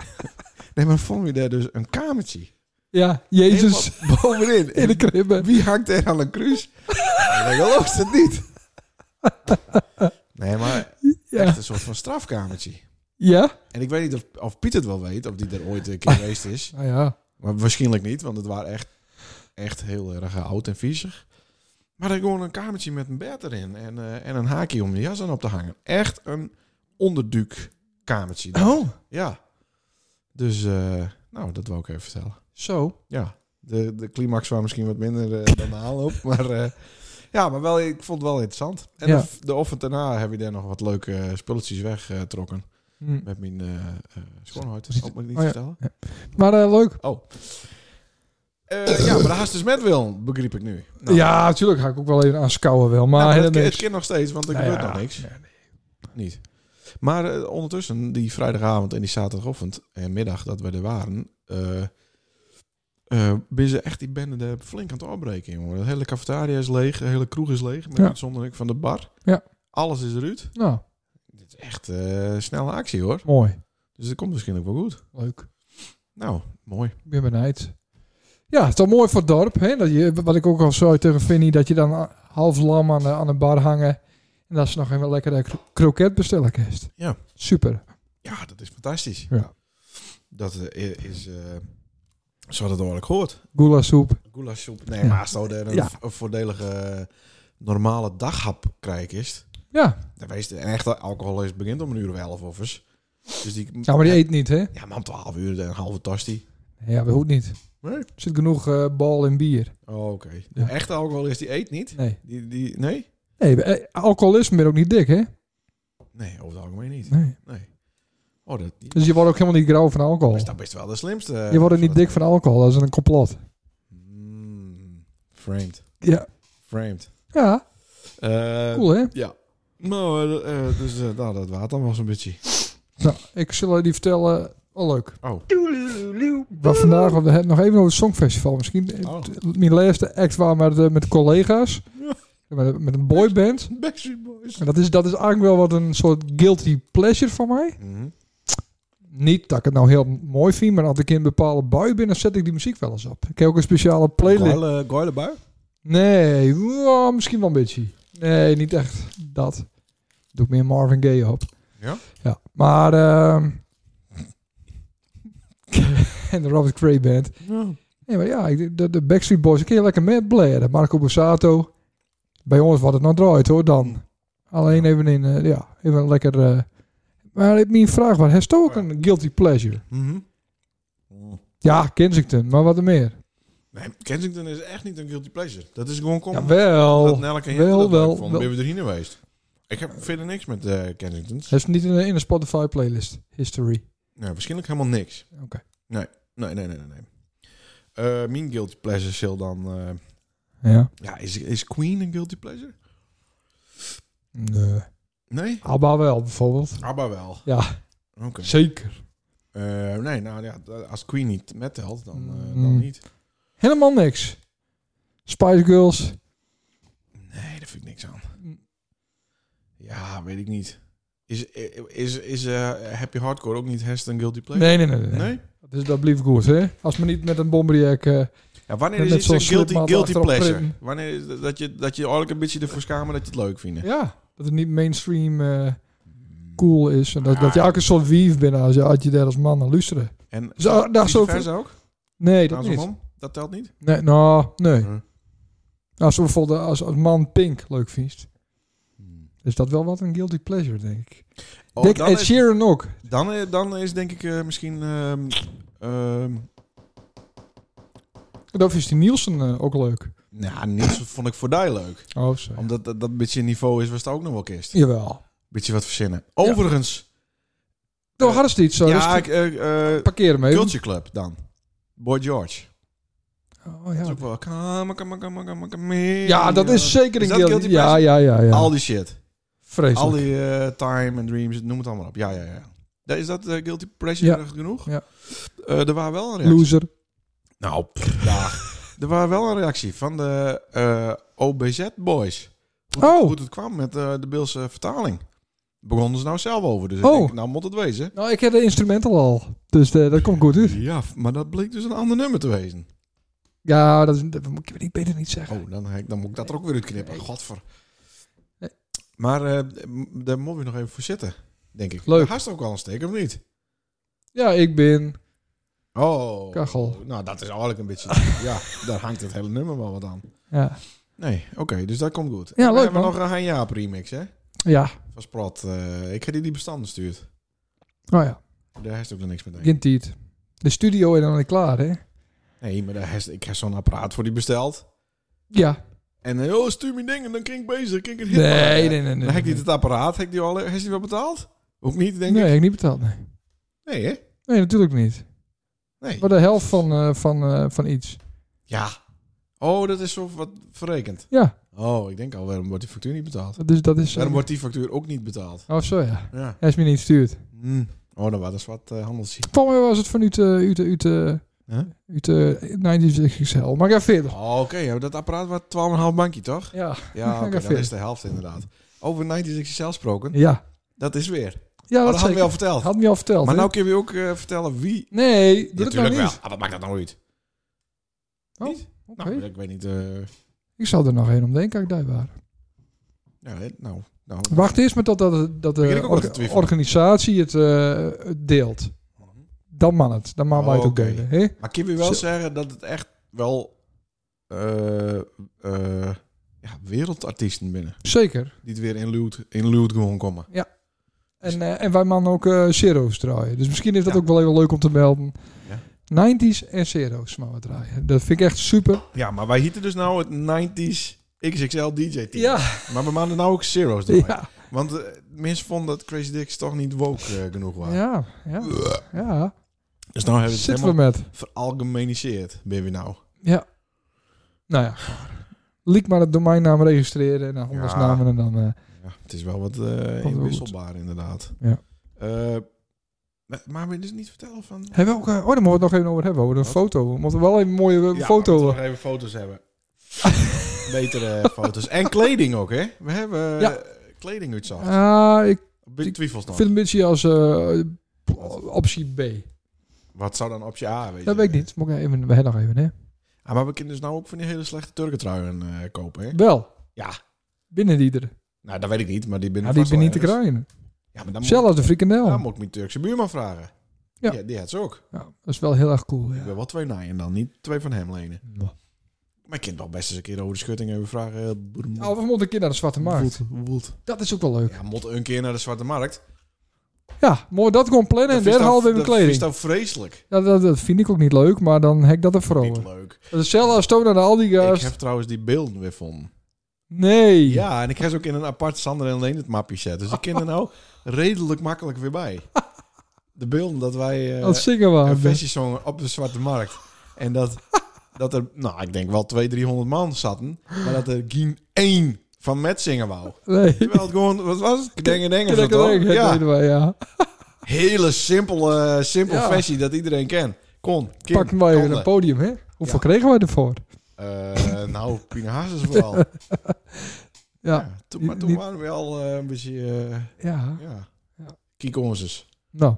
A: nee, maar vonden we daar dus een kamertje.
C: Ja, Jezus
A: Helemaal bovenin.
C: in de kribbe.
A: Wie hangt er aan een cruise? Ik geloof het niet. Nee, maar
C: Ja.
A: echt een soort van strafkamertje.
C: Ja?
A: En ik weet niet of, of Piet het wel weet, of die er ooit een keer geweest is.
C: Nou ja.
A: Maar waarschijnlijk niet, want het waren echt, echt heel erg oud en viezig. Maar dan gewoon een kamertje met een bed erin en, eh, en een haakje om de jas aan op te hangen. Echt een onderduik kamertje.
C: Oh.
A: Ja. Dus, eh, nou, dat wil ik even vertellen.
C: Zo.
A: Ja, de, de climax was misschien wat minder eh, dan de aanloop. Maar eh, ja, maar wel, ik vond het wel interessant. En
C: Ja.
A: de, f- de ochtend daarna heb je daar nog wat leuke eh, spulletjes weggetrokken.
C: Hm.
A: met mijn eh eh schoonheid.
C: Precies.
A: Dat moet ik niet
C: Oh ja.
A: vertellen.
C: Maar eh, leuk.
A: Oh. Eh, ja, maar daar haast dus met wil, begreep ik nu. Nou,
C: Ja, natuurlijk ga ik ook wel even aanschouwen wel. Maar,
A: nou, maar
C: helemaal
A: het, het
C: niks.
A: kan nog steeds, want er
C: Nou
A: gebeurt
C: ja.
A: nog niks.
C: Nee,
A: Niet. Maar eh, ondertussen, die vrijdagavond en die zaterdagochtend en middag dat we er waren, eh eh ben ze echt die bende daar flink aan het afbreken, jongen. De hele cafetaria is leeg, de hele kroeg is leeg, met
C: Ja.
A: uitzondering van de bar.
C: Ja.
A: Alles is eruit.
C: Nou,
A: Dit is echt eh, snelle actie, hoor.
C: mooi.
A: Dus dat komt misschien ook wel goed.
C: Leuk.
A: Nou, mooi.
C: Ik ben benijd. Ja, het is toch mooi voor het dorp. Hè? Dat je, wat ik ook al zei tegen Vinnie, dat je dan a- half lam aan de, aan de bar hangen. En dat ze nog even lekkere kro- kroket bestellen kerst.
A: Ja.
C: Super.
A: Ja, dat is fantastisch.
C: Ja.
A: Dat eh, is, eh zo dat hoorlijk hoort.
C: Gula soep.
A: Goulashsoep. Nee,
C: Ja.
A: maar als het nou een,
C: Ja.
A: een voordelige eh, normale daghap krijgt is,
C: Ja.
A: dan wees de, en echt alcohol is begint om een uur of elf of eens. Dus die,
C: ja, maar die eet niet, hè?
A: Ja, maar om twaalf uur een halve tas die.
C: Ja, we hoeft niet.
A: Nee.
C: Er zit genoeg eh, bal en bier.
A: Oh, oké. De
C: Ja.
A: echte alcoholist die eet niet.
C: Nee.
A: Die, die, nee?
C: Nee, we- eh, alcoholisme ben ook niet dik, hè?
A: Nee, over het algemeen niet.
C: Nee.
A: Nee. Oh, dat die-
C: Dus je wordt ook helemaal niet grauw van alcohol.
A: is dan best wel de slimste. eh,
C: Je wordt er niet
A: dat-
C: dik van alcohol. Dat is een complot.
A: Mm, framed.
C: Ja.
A: Framed.
C: Ja,
A: Eh,
C: cool, hè?
A: Nou, eh, eh, dus eh, nou, dat water dan wel zo'n beetje.
C: Nou, ik zal jullie vertellen. Oh, leuk.
A: Oh,
C: Waar vandaag, want we hebben het nog even over het Songfestival. Misschien eh,
A: Oh.
C: t- mijn laatste act was met, eh, met collega's.
A: Ja.
C: Met, met een boyband.
A: Backstreet Boys.
C: En dat is, dat is eigenlijk wel wat een soort guilty pleasure van mij.
A: Mhm.
C: Niet dat ik het nou heel mooi vind, maar als ik in een bepaalde bui ben, dan zet ik die muziek wel eens op. Ik heb ook een speciale playlist.
A: Goile, eh, goile bui?
C: Nee, wow, misschien wel een beetje. Nee, niet echt dat. Doe ik meer Marvin Gaye op.
A: Ja?
C: Ja, maar... ehm en de Robert Cray Band. Nee, maar ja, ik- de, de Backstreet Boys, ik kan je lekker met blaren. Marco Borsato. Bij ons wat het nou draait hoor, dan. Alleen even in, eh, ja, even lekker... eh, maar mijn vraag was, heeft ook een guilty pleasure?
A: Mhm.
C: Ja, Kensington, maar wat er meer?
A: Mm. Nee, Kensington is echt niet een guilty pleasure. Dat is gewoon kom. dat
C: Jawel.
A: Nelke en
C: Wel,
A: Jette dat
C: wel,
A: leuk vonden,
C: wel.
A: Ben we erin geweest? Ik heb verder niks met eh Kensington.
C: Heeft ze niet in de, in de Spotify playlist history.
A: Nou, waarschijnlijk helemaal niks.
C: Oké.
A: Nee, nee, nee, nee, nee. nee. Eh, mijn guilty pleasure zal dan... eh,
C: Ja.
A: ja, is, is Queen een guilty pleasure?
C: Nee.
A: Nee?
C: Abba wel, bijvoorbeeld.
A: ABBA wel.
C: Ja.
A: Oké.
C: Zeker.
A: Eh, nee, nou ja, als Queen niet mettelt, dan, eh, dan
C: Mm.
A: niet.
C: Helemaal niks. Spice Girls.
A: Nee, daar vind ik niks aan.
C: Mm.
A: Ja, weet ik niet. Is, is, is eh, Happy Hardcore ook niet Hest een Guilty Pleasure?
C: Nee, nee, nee. nee. nee.
A: Nee?
C: Dus dat blijft goed, hè? Als men niet met een bomberjack... eh,
A: Ja, wanneer
C: Met
A: is iets
C: zo'n
A: een guilty,
C: slipmat
A: guilty
C: achterop
A: pleasure?
C: printen.
A: Wanneer is dat- dat je, dat je eigenlijk een beetje ervoor schamen dat je het leuk vindt?
C: ja, dat het niet mainstream eh, cool is. En dat, dat je
A: Ah.
C: ook een soort wief bent als je, als je daar als man naar luisteren.
A: En
C: Zo- daar zo-
A: vers ook?
C: Nee, dat niet.
A: Andersom? Dat telt niet?
C: Nee, nou, nee. Nou,
A: Hm.
C: Als, we bijvoorbeeld als, als man Pink leuk vindt, is dat wel wat een guilty pleasure, denk ik.
A: Oh,
C: denk
A: dan,
C: Ed
A: is,
C: Sheeran ook.
A: dan, eh, dan is denk ik eh, misschien... ehm, ehm,
C: Dan vindt die Nielsen eh, ook leuk.
A: nou, niks vond ik voor die leuk.
C: Oh, zo.
A: Omdat dat, dat een beetje een niveau is waar het ook nog wel kist.
C: Jawel.
A: Beetje wat verzinnen. Overigens,
C: Toen hadden ze iets zo. Ja,
A: ja, ik,
C: dus
A: eh, eh,
C: parkeer hem even.
A: Culture Club dan. Boy George.
C: Oh,
A: Dat is
C: ja.
A: ook wel... Come, come, come, come, come
C: ja, dat is zeker een
A: Is dat
C: guilty,
A: guilty
C: Ja,
A: pleasure?
C: ja, ja. ja.
A: Al die shit.
C: Vreselijk.
A: Al die eh, time en dreams, noem het allemaal op. Ja, ja, ja. Da- Is dat eh, guilty pleasure
C: Ja.
A: genoeg?
C: Ja.
A: Eh, er waren wel een reactie.
C: Loser.
A: Nou, pff, ja. Er waren wel een reactie van de eh, OBZ Boys. Hoe,
C: Oh.
A: hoe het kwam met eh, de Beelse vertaling. Begonnen ze nou zelf over. Dus
C: Oh.
A: ik denk, nou moet het wezen.
C: Nou, ik heb de instrumental al. Dus eh, dat komt goed uit.
A: Ja, f- maar dat bleek dus een ander nummer te wezen.
C: Ja, dat, is, dat moet ik beter niet zeggen.
A: Oh, dan, heb ik- dan moet ik dat er ook weer uitknippen. Godver.
C: Nee.
A: Maar eh, m- daar moet je nog even voor zitten, denk ik.
C: Leuk.
A: Daar haast ook al een steek, of niet?
C: Ja, ik ben...
A: Oh.
C: Kachel.
A: Nou, dat is eigenlijk een beetje... ja, daar hangt het hele nummer wel wat aan.
C: Ja,
A: Nee, oké, dus dat komt goed.
C: Ja,
A: We
C: leuk,
A: hebben
C: man.
A: nog een Han Jaap remix, hè?
C: ja.
A: Van Sprat. eh, ik heb die die bestanden stuurd.
C: nou ja.
A: Daar heeft ook nog niks mee. te maken.
C: Geen tijd. De studio is dan niet klaar, hè?
A: Nee, maar daar heeft, ik heb zo'n apparaat voor die besteld.
C: Ja.
A: En, eh, oh, stuur me dingen, dan kan ik bezig. Kan ik een hit
C: Nee,
A: maken.
C: nee, nee. nee,
A: Dan
C: nee,
A: heb ik niet het apparaat. Heb ik die al, heeft die wel betaald? Ook niet, denk
C: Nee,
A: ik.
C: heb ik niet betaald, nee.
A: Nee, hè?
C: Nee, natuurlijk niet.
A: Nee.
C: Maar de helft van, eh, van, eh, van iets.
A: Ja. Oh, dat is zo wat verrekend.
C: Ja,
A: Oh, ik denk al, waarom wordt die factuur niet betaald?
C: dat is... Dus Dat is eh,
A: Waarom wordt die factuur ook niet betaald?
C: Oh, zo ja.
A: Ja.
C: Hij is me niet gestuurd.
A: Hm. Oh, dan was wat eh handels.
C: Volgens mij was het vanuit eh uit, de- uit, de-
A: Huh?
C: uit de 90 XL. Maar ga verder.
A: Oh, Oké, ja, dat apparaat was 12,5 bankje, toch?
C: Ja.
A: Ja, oké,
C: Ik ga
A: dat
C: verder.
A: is de helft inderdaad. Over 96 XL gesproken,
C: Ja.
A: dat is weer. Maar
C: Ja,
A: Oh, dat
C: dat,
A: hadden
C: zeker.
A: we al verteld.
C: Had me al verteld.
A: maar
C: hè?
A: nou kun je ook eh, vertellen wie...
C: Nee, doe het nou
A: Natuurlijk wel.
C: niet.
A: Ah, wat maakt dat nou uit?
C: Oh,
A: Niet?
C: Oké.
A: Nou, ik weet niet... eh,
C: Ik zal er nog één om denken, als ik daar waren.
A: ja, hè, nou, nou...
C: Wacht eerst maar totdat dat, dat
A: Begin ik
C: de
A: ook nog te
C: orga-
A: twijfelen.
C: organisatie het eh, het deelt. Dan man het. Dan man wij het ook
A: Oké.
C: delen. Hè?
A: Maar kun je wel
C: Zo.
A: zeggen dat het echt wel... eh, eh, ja, wereldartiesten binnen.
C: Zeker.
A: Die het weer in Luwt, in Luwt gewoon komen.
C: En, eh, en wij man ook eh zero's draaien. Dus misschien is dat
A: Ja.
C: ook wel even leuk om te melden.
A: Ja.
C: 90s en zero's maar we draaien. Dat vind ik echt super.
A: Ja, maar wij hieten dus nou het 90s XXL DJ-team.
C: Ja.
A: Maar we maanden nou ook zero's door.
C: Ja.
A: Want eh, mensen vonden dat Crazy Dicks toch niet woke eh, genoeg waren.
C: Ja. Ja. ja.
A: Dus nou hebben we het
C: Zitten we
A: helemaal
C: met.
A: veralgemeniseerd, ben we nou.
C: Ja. Nou ja. Liek maar het domeinnaam registreren. En dan handelsnamen. En dan... eh,
A: Ja, het is wel wat eh
C: goed.
A: inwisselbaar inderdaad.
C: Ja.
A: Eh, maar, maar we dus niet vertellen van...
C: Hebben we ook... eh, oh, daar moeten we het nog even over hebben. Over een foto. We moeten wel even een mooie eh,
A: Ja, we
C: foto...
A: moeten nog even foto's hebben. Betere eh, foto's. En kleding ook, hè? We hebben eh,
C: Ja.
A: kleding uitzacht.
C: Ah, ik
A: Big twijfels nog.
C: vind het een beetje als eh, optie B.
A: Wat zou dan optie A wezen?
C: Dat weet ik niet. Moet ik even, we hebben nog even, hè?
A: Ah, maar we kunnen dus nou ook van die hele slechte Turkentruien eh, kopen, hè?
C: Wel.
A: Ja.
C: Binnen die er.
A: Nou, dat weet ik niet, maar die ben
C: Ja, die ben niet te krijgen.
A: Ja, maar dan
C: Zelfs
A: moet,
C: als de frikandel.
A: dan moet ik mijn Turkse buurman vragen.
C: Oh. Ja.
A: Die, die had ze ook.
C: Ja, dat is wel heel erg cool,
A: Ik
C: ja.
A: wil wel twee naaien dan, niet twee van hem lenen.
C: Nou,
A: Maar ik kan het wel best eens een keer over de schutting even vragen. eh, boer-
C: of Nou, we moeten een keer naar de Zwarte Markt.
A: Woed, woed.
C: Dat is ook wel leuk.
A: Ja, mot een keer naar de Zwarte Markt.
C: Ja, mooi dat gewoon plannen en
A: Dat is
C: daar
A: dan-
C: halen we mijn
A: Dat is
C: kleding.
A: dan vreselijk.
C: Ja, dat, dat vind ik ook niet leuk, maar dan heb ik dat er
A: Niet
C: vrouwen.
A: leuk.
C: Dat is zelfs als toen naar de Aldi
A: Ik
C: gast.
A: heb trouwens die beelden weer van.
C: Nee.
A: Ja, en ik heb ze ook in een apart Sander en Leen het mapje zetten. Dus ik ken er nou redelijk makkelijk weer bij. de beelden dat wij eh,
C: Aan het zingen waren.
A: een versie zongen op de Zwarte Markt. En dat, dat er, nou, ik denk wel 200, 300 man zaten. Maar dat er geen één van met zingen wou.
C: Nee.
A: Terwijl het gewoon, wat was het? Denken, denken,
C: Kijk,
A: toch?
C: kijk,
A: Ja,
C: deden wij, ja.
A: hele simpele, simpel
C: Ja.
A: versie dat iedereen kent. Kon, Kim,
C: Pakken wij weer
A: kon
C: een
A: dat.
C: podium, hè? Hoeveel
A: Ja.
C: kregen wij ervoor?
A: Eh, nou, Pina Hazes vooral. ja,
C: Ja,
A: toen, maar toen
C: Niet-
A: waren we al eh, een beetje, eh,
C: ja.
A: ja,
C: Ja.
A: Kiek Onzes.
C: Nou,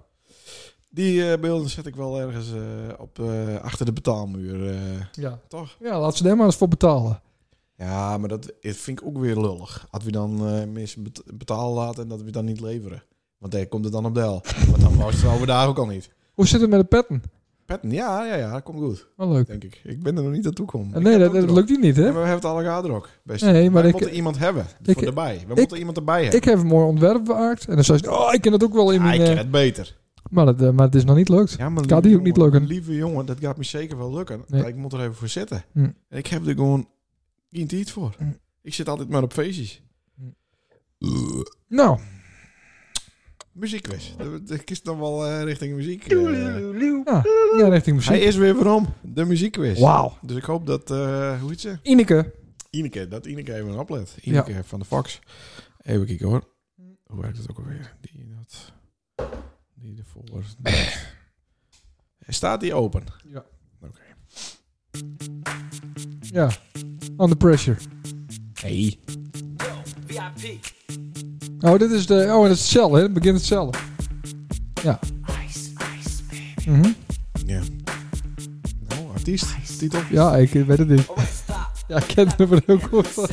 A: Die eh, beelden zet ik wel ergens eh, op, eh, achter de betaalmuur. eh.
C: ja.
A: Toch?
C: Ja, laat ze daar maar eens voor betalen.
A: Ja, maar dat eh, vind ik ook weer lullig. Als we dan eh mensen bet- betalen laten en dat we dan niet leveren. Want daar komt het dan op del. Want dan was het over daar ook al niet.
C: Hoe zit het met de petten?
A: Petten, ja, ja, ja, dat komt goed,
C: Wel leuk.
A: denk ik. Ik ben er nog niet naartoe gekomen.
C: En Eh, nee,
A: Ik heb het
C: dat,
A: ook
C: dat
A: erop.
C: lukt die niet, hè?
A: Ja, maar we hebben het alle gader ook. Best.
C: Nee, maar
A: we
C: ik-
A: moeten iemand hebben
C: ik-
A: voor erbij. We moeten iemand erbij hebben.
C: Ik heb een mooi ontwerp gemaakt. En dan zei ze, oh, ik ken dat ook wel in
A: Ah,
C: mijn...
A: ik ken
C: eh,
A: het beter.
C: maar, dat, eh, maar het is nog niet lukt.
A: Ja, maar
C: Gaat die ook niet
A: jongen,
C: lukken?
A: Lieve jongen, dat gaat me zeker wel lukken.
C: Nee.
A: Maar ik moet er even voor zitten.
C: Hm.
A: Ik heb er gewoon geen tijd voor.
C: Hm.
A: Ik zit altijd maar op feestjes.
C: Nou,
A: Muziekquiz. Dat dat is dan wel eh, richting muziek. eh.
C: ja, ja richting
A: hij
C: muziek.
A: is weer waarom. De muziekquiz.
C: Wauw.
A: Dus ik hoop dat, eh, hoe heet ze?
C: Ineke.
A: Ineke, dat Ineke even oplet. Ineke van de Fox. Even kijken hoor. Hoe werkt het ook alweer? Die, dat, die ervoor. Eh. Staat die open?
C: Ja. Under pressure.
A: Hey.
C: Oh, dit is de... Oh, en het is hetzelfde, hè? Het begint hetzelfde. Ja. Mhm.
A: Ja. Nou, artiest, titel.
C: Ja, ik weet het niet. Ja, ik ken het nummer heel goed. Oh,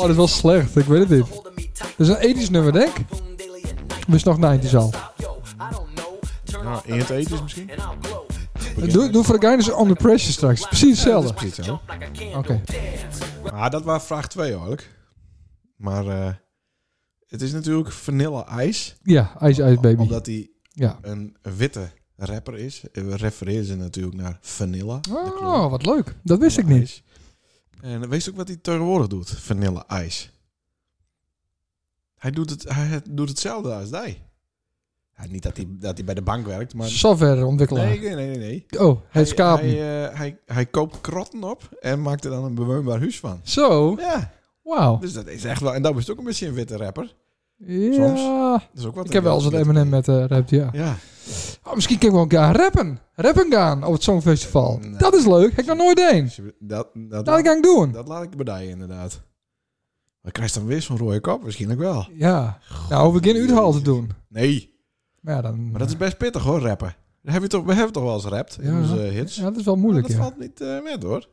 C: dat is wel slecht. Ik weet het niet. Dat is een 80s nummer, denk ik. Of is het nog 90s al?
A: Nou, in het eten is misschien.
C: Doe, doe voor de Guinness Under Pressure straks. Precies hetzelfde.
A: Precies zo.
C: Oké.
A: Maar Ah, dat was vraag 2 eigenlijk. Maar eh, het is natuurlijk vanilla ijs.
C: Ja, Ice Ice Baby.
A: Omdat hij
C: Ja.
A: een witte rapper is. Eh, We refereren ze natuurlijk naar vanilla. de kleur.
C: Oh, wat leuk. Dat wist ik niet.
A: Ijs. En weet je ook wat hij tegenwoordig doet? Vanille ijs. Hij doet, het, hij doet hetzelfde als hij. Ja, niet dat hij, dat hij bij de bank werkt, maar... Nee,
C: Softwareontwikkelaar.
A: nee, nee, nee.
C: Oh, het
A: hij,
C: skapen.
A: hij, eh, hij, hij koopt krotten op en maakt er dan een bewoonbaar huis van.
C: Zo,
A: Ja,
C: wauw.
A: dus dat is echt wel... En dat is ook een beetje een witte rapper.
C: Ja.
A: Dat is ook wat
C: Ik heb wel eens een M&M met eh rap, ja.
A: Ja,
C: Oh, misschien kan ik wel gaan rappen. Rappen gaan op het Songfestival.
A: Nee.
C: Dat is leuk. Heb ik nog nooit eens.
A: dat, dat,
C: Dat
A: dat,
C: ga Nou, ik doen.
A: laat ik bedijen, inderdaad. Maar krijg je dan weer zo'n rode kop? Misschien ook wel.
C: Ja. Nou, we beginnen Uithal te doen.
A: Nee,
C: Maar ja, dan...
A: maar dat is best pittig hoor, rappen. Daar Heb je toch, we hebben toch wel eens rapt in
C: Ja.
A: onze eh, hits?
C: ja, dat is wel moeilijk,
A: dat
C: ja.
A: valt niet eh met hoor.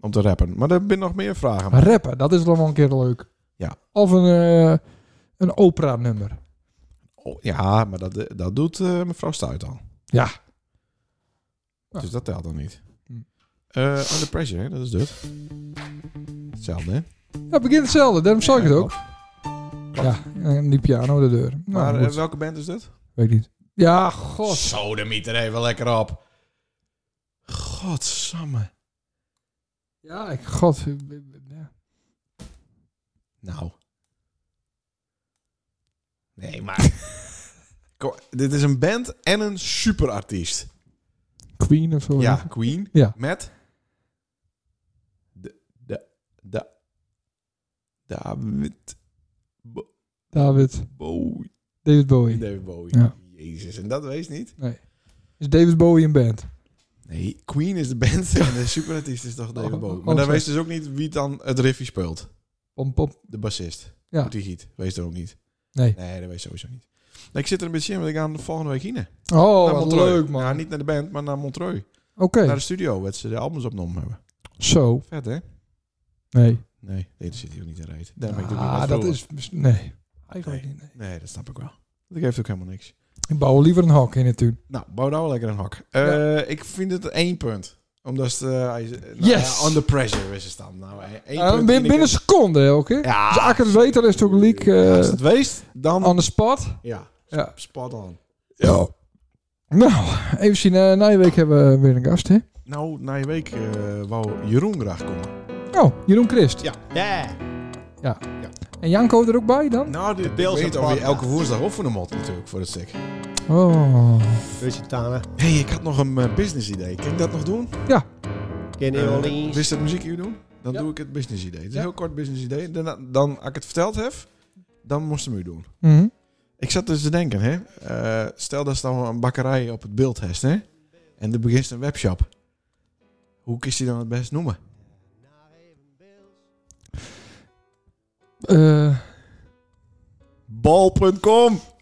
A: Om te rappen. Maar er zijn nog meer vragen.
C: Maar rappen, dat is wel een keer leuk.
A: Ja.
C: Of een, eh, een opera-nummer.
A: Oh, ja, maar dat, eh, dat doet eh, mevrouw Stuit al.
C: Ja. Ja.
A: Dus dat telt dan niet.
C: Hm.
A: Eh, under pressure, hè? dat is dit. Hetzelfde,
C: Nou,
A: hè?
C: Ja, het begint hetzelfde. Daarom zag ik het
A: Ja,
C: ook. Ja, en die piano de deur.
A: Maar
C: Nou,
A: eh,
C: goed.
A: welke band is dit?
C: Weet ik niet. Ja, god.
A: Zo, de miet er even lekker op. Godsamme.
C: Ja, ik, god. Ja.
A: Nou. Nee, maar... Kom, dit is een band en een superartiest.
C: Queen of zo.
A: Ja, Queen.
C: Oh, Ja.
A: Met... De... De... De... David... Bo-
C: David.
A: Bowie.
C: David Bowie.
A: David Bowie.
C: Ja.
A: Jezus, en dat wees niet.
C: Is David Bowie een band?
A: Nee, Queen is de band en de superartiest is toch David
C: Oh,
A: Bowie.
C: oh,
A: Maar dan
C: zo.
A: wees dus ook niet wie dan het riffje speelt.
C: Pom, pom.
A: De bassist.
C: Ja.
A: Moet die giet. Wees er ook niet.
C: Nee.
A: Nee, dat wees sowieso niet. Nee, ik zit er een beetje in, want ik ga de volgende week heen.
C: Oh,
A: Naar
C: wat
A: Montreux.
C: leuk, man.
A: Ja, niet naar de band, maar naar Montreux.
C: Oké.
A: Naar de studio, waar ze de albums opgenomen hebben.
C: Zo.
A: Vet, hè?
C: Nee.
A: Nee, nee dat zit hier ook niet in reed. Daarom heb ik het ook
C: ah,
A: niet
C: dat
A: laten
C: is... Nee. Eigenlijk
A: Nee.
C: niet, nee.
A: horen. Nee, dat snap ik wel. Dat geeft ook helemaal niks.
C: Ik bouw liever een hok in het tuin.
A: Nou, bouw nou wel lekker een hak. Eh, Ik vind het één punt. Omdat ze... eh, hij ze- nou,
C: Yes!
A: ja, under pressure is het dan. Nou, één
C: Eh,
A: punt.
C: binnen, binnen een
A: Ineke.
C: seconde, hè, oké?
A: Ja.
C: Dus als ik het weet, dan is het ook leak
A: Ja,
C: eh,
A: Als het weest, dan...
C: on the spot.
A: ja,
C: Ja.
A: spot on.
C: Ja. Nou, even zien. eh, na je week hebben we weer een gast, hè?
A: Nou, na je week eh wou Jeroen graag komen.
C: Oh, Jeroen Christ.
A: Ja.
B: Yeah.
C: Ja. En En Janko er ook bij dan?
A: Nou, dit, ik
B: Pils
A: weet
B: en
A: niet of je
B: panda.
A: elke woensdag oefenen moet natuurlijk voor het stuk.
C: Oh.
B: Beetje Tana.
A: Hé, hey, ik had nog een eh, business idee. Kan ik dat nog doen?
B: Kenny
A: Eh,
B: Orleans.
A: wist dat muziekuur doen? Dan
C: Ja.
A: doe ik het business idee. Het is
C: Ja.
A: een heel kort business idee. Daarna, dan, als ik het verteld heb, dan moest hem u doen.
C: Mhm.
A: Ik zat dus te denken, hè. eh, stel dat ze dan een bakkerij op het beeld heeft, hè. En er begint een webshop. Hoe kiest hij dan het best noemen?
C: Eh,
A: Bal.com!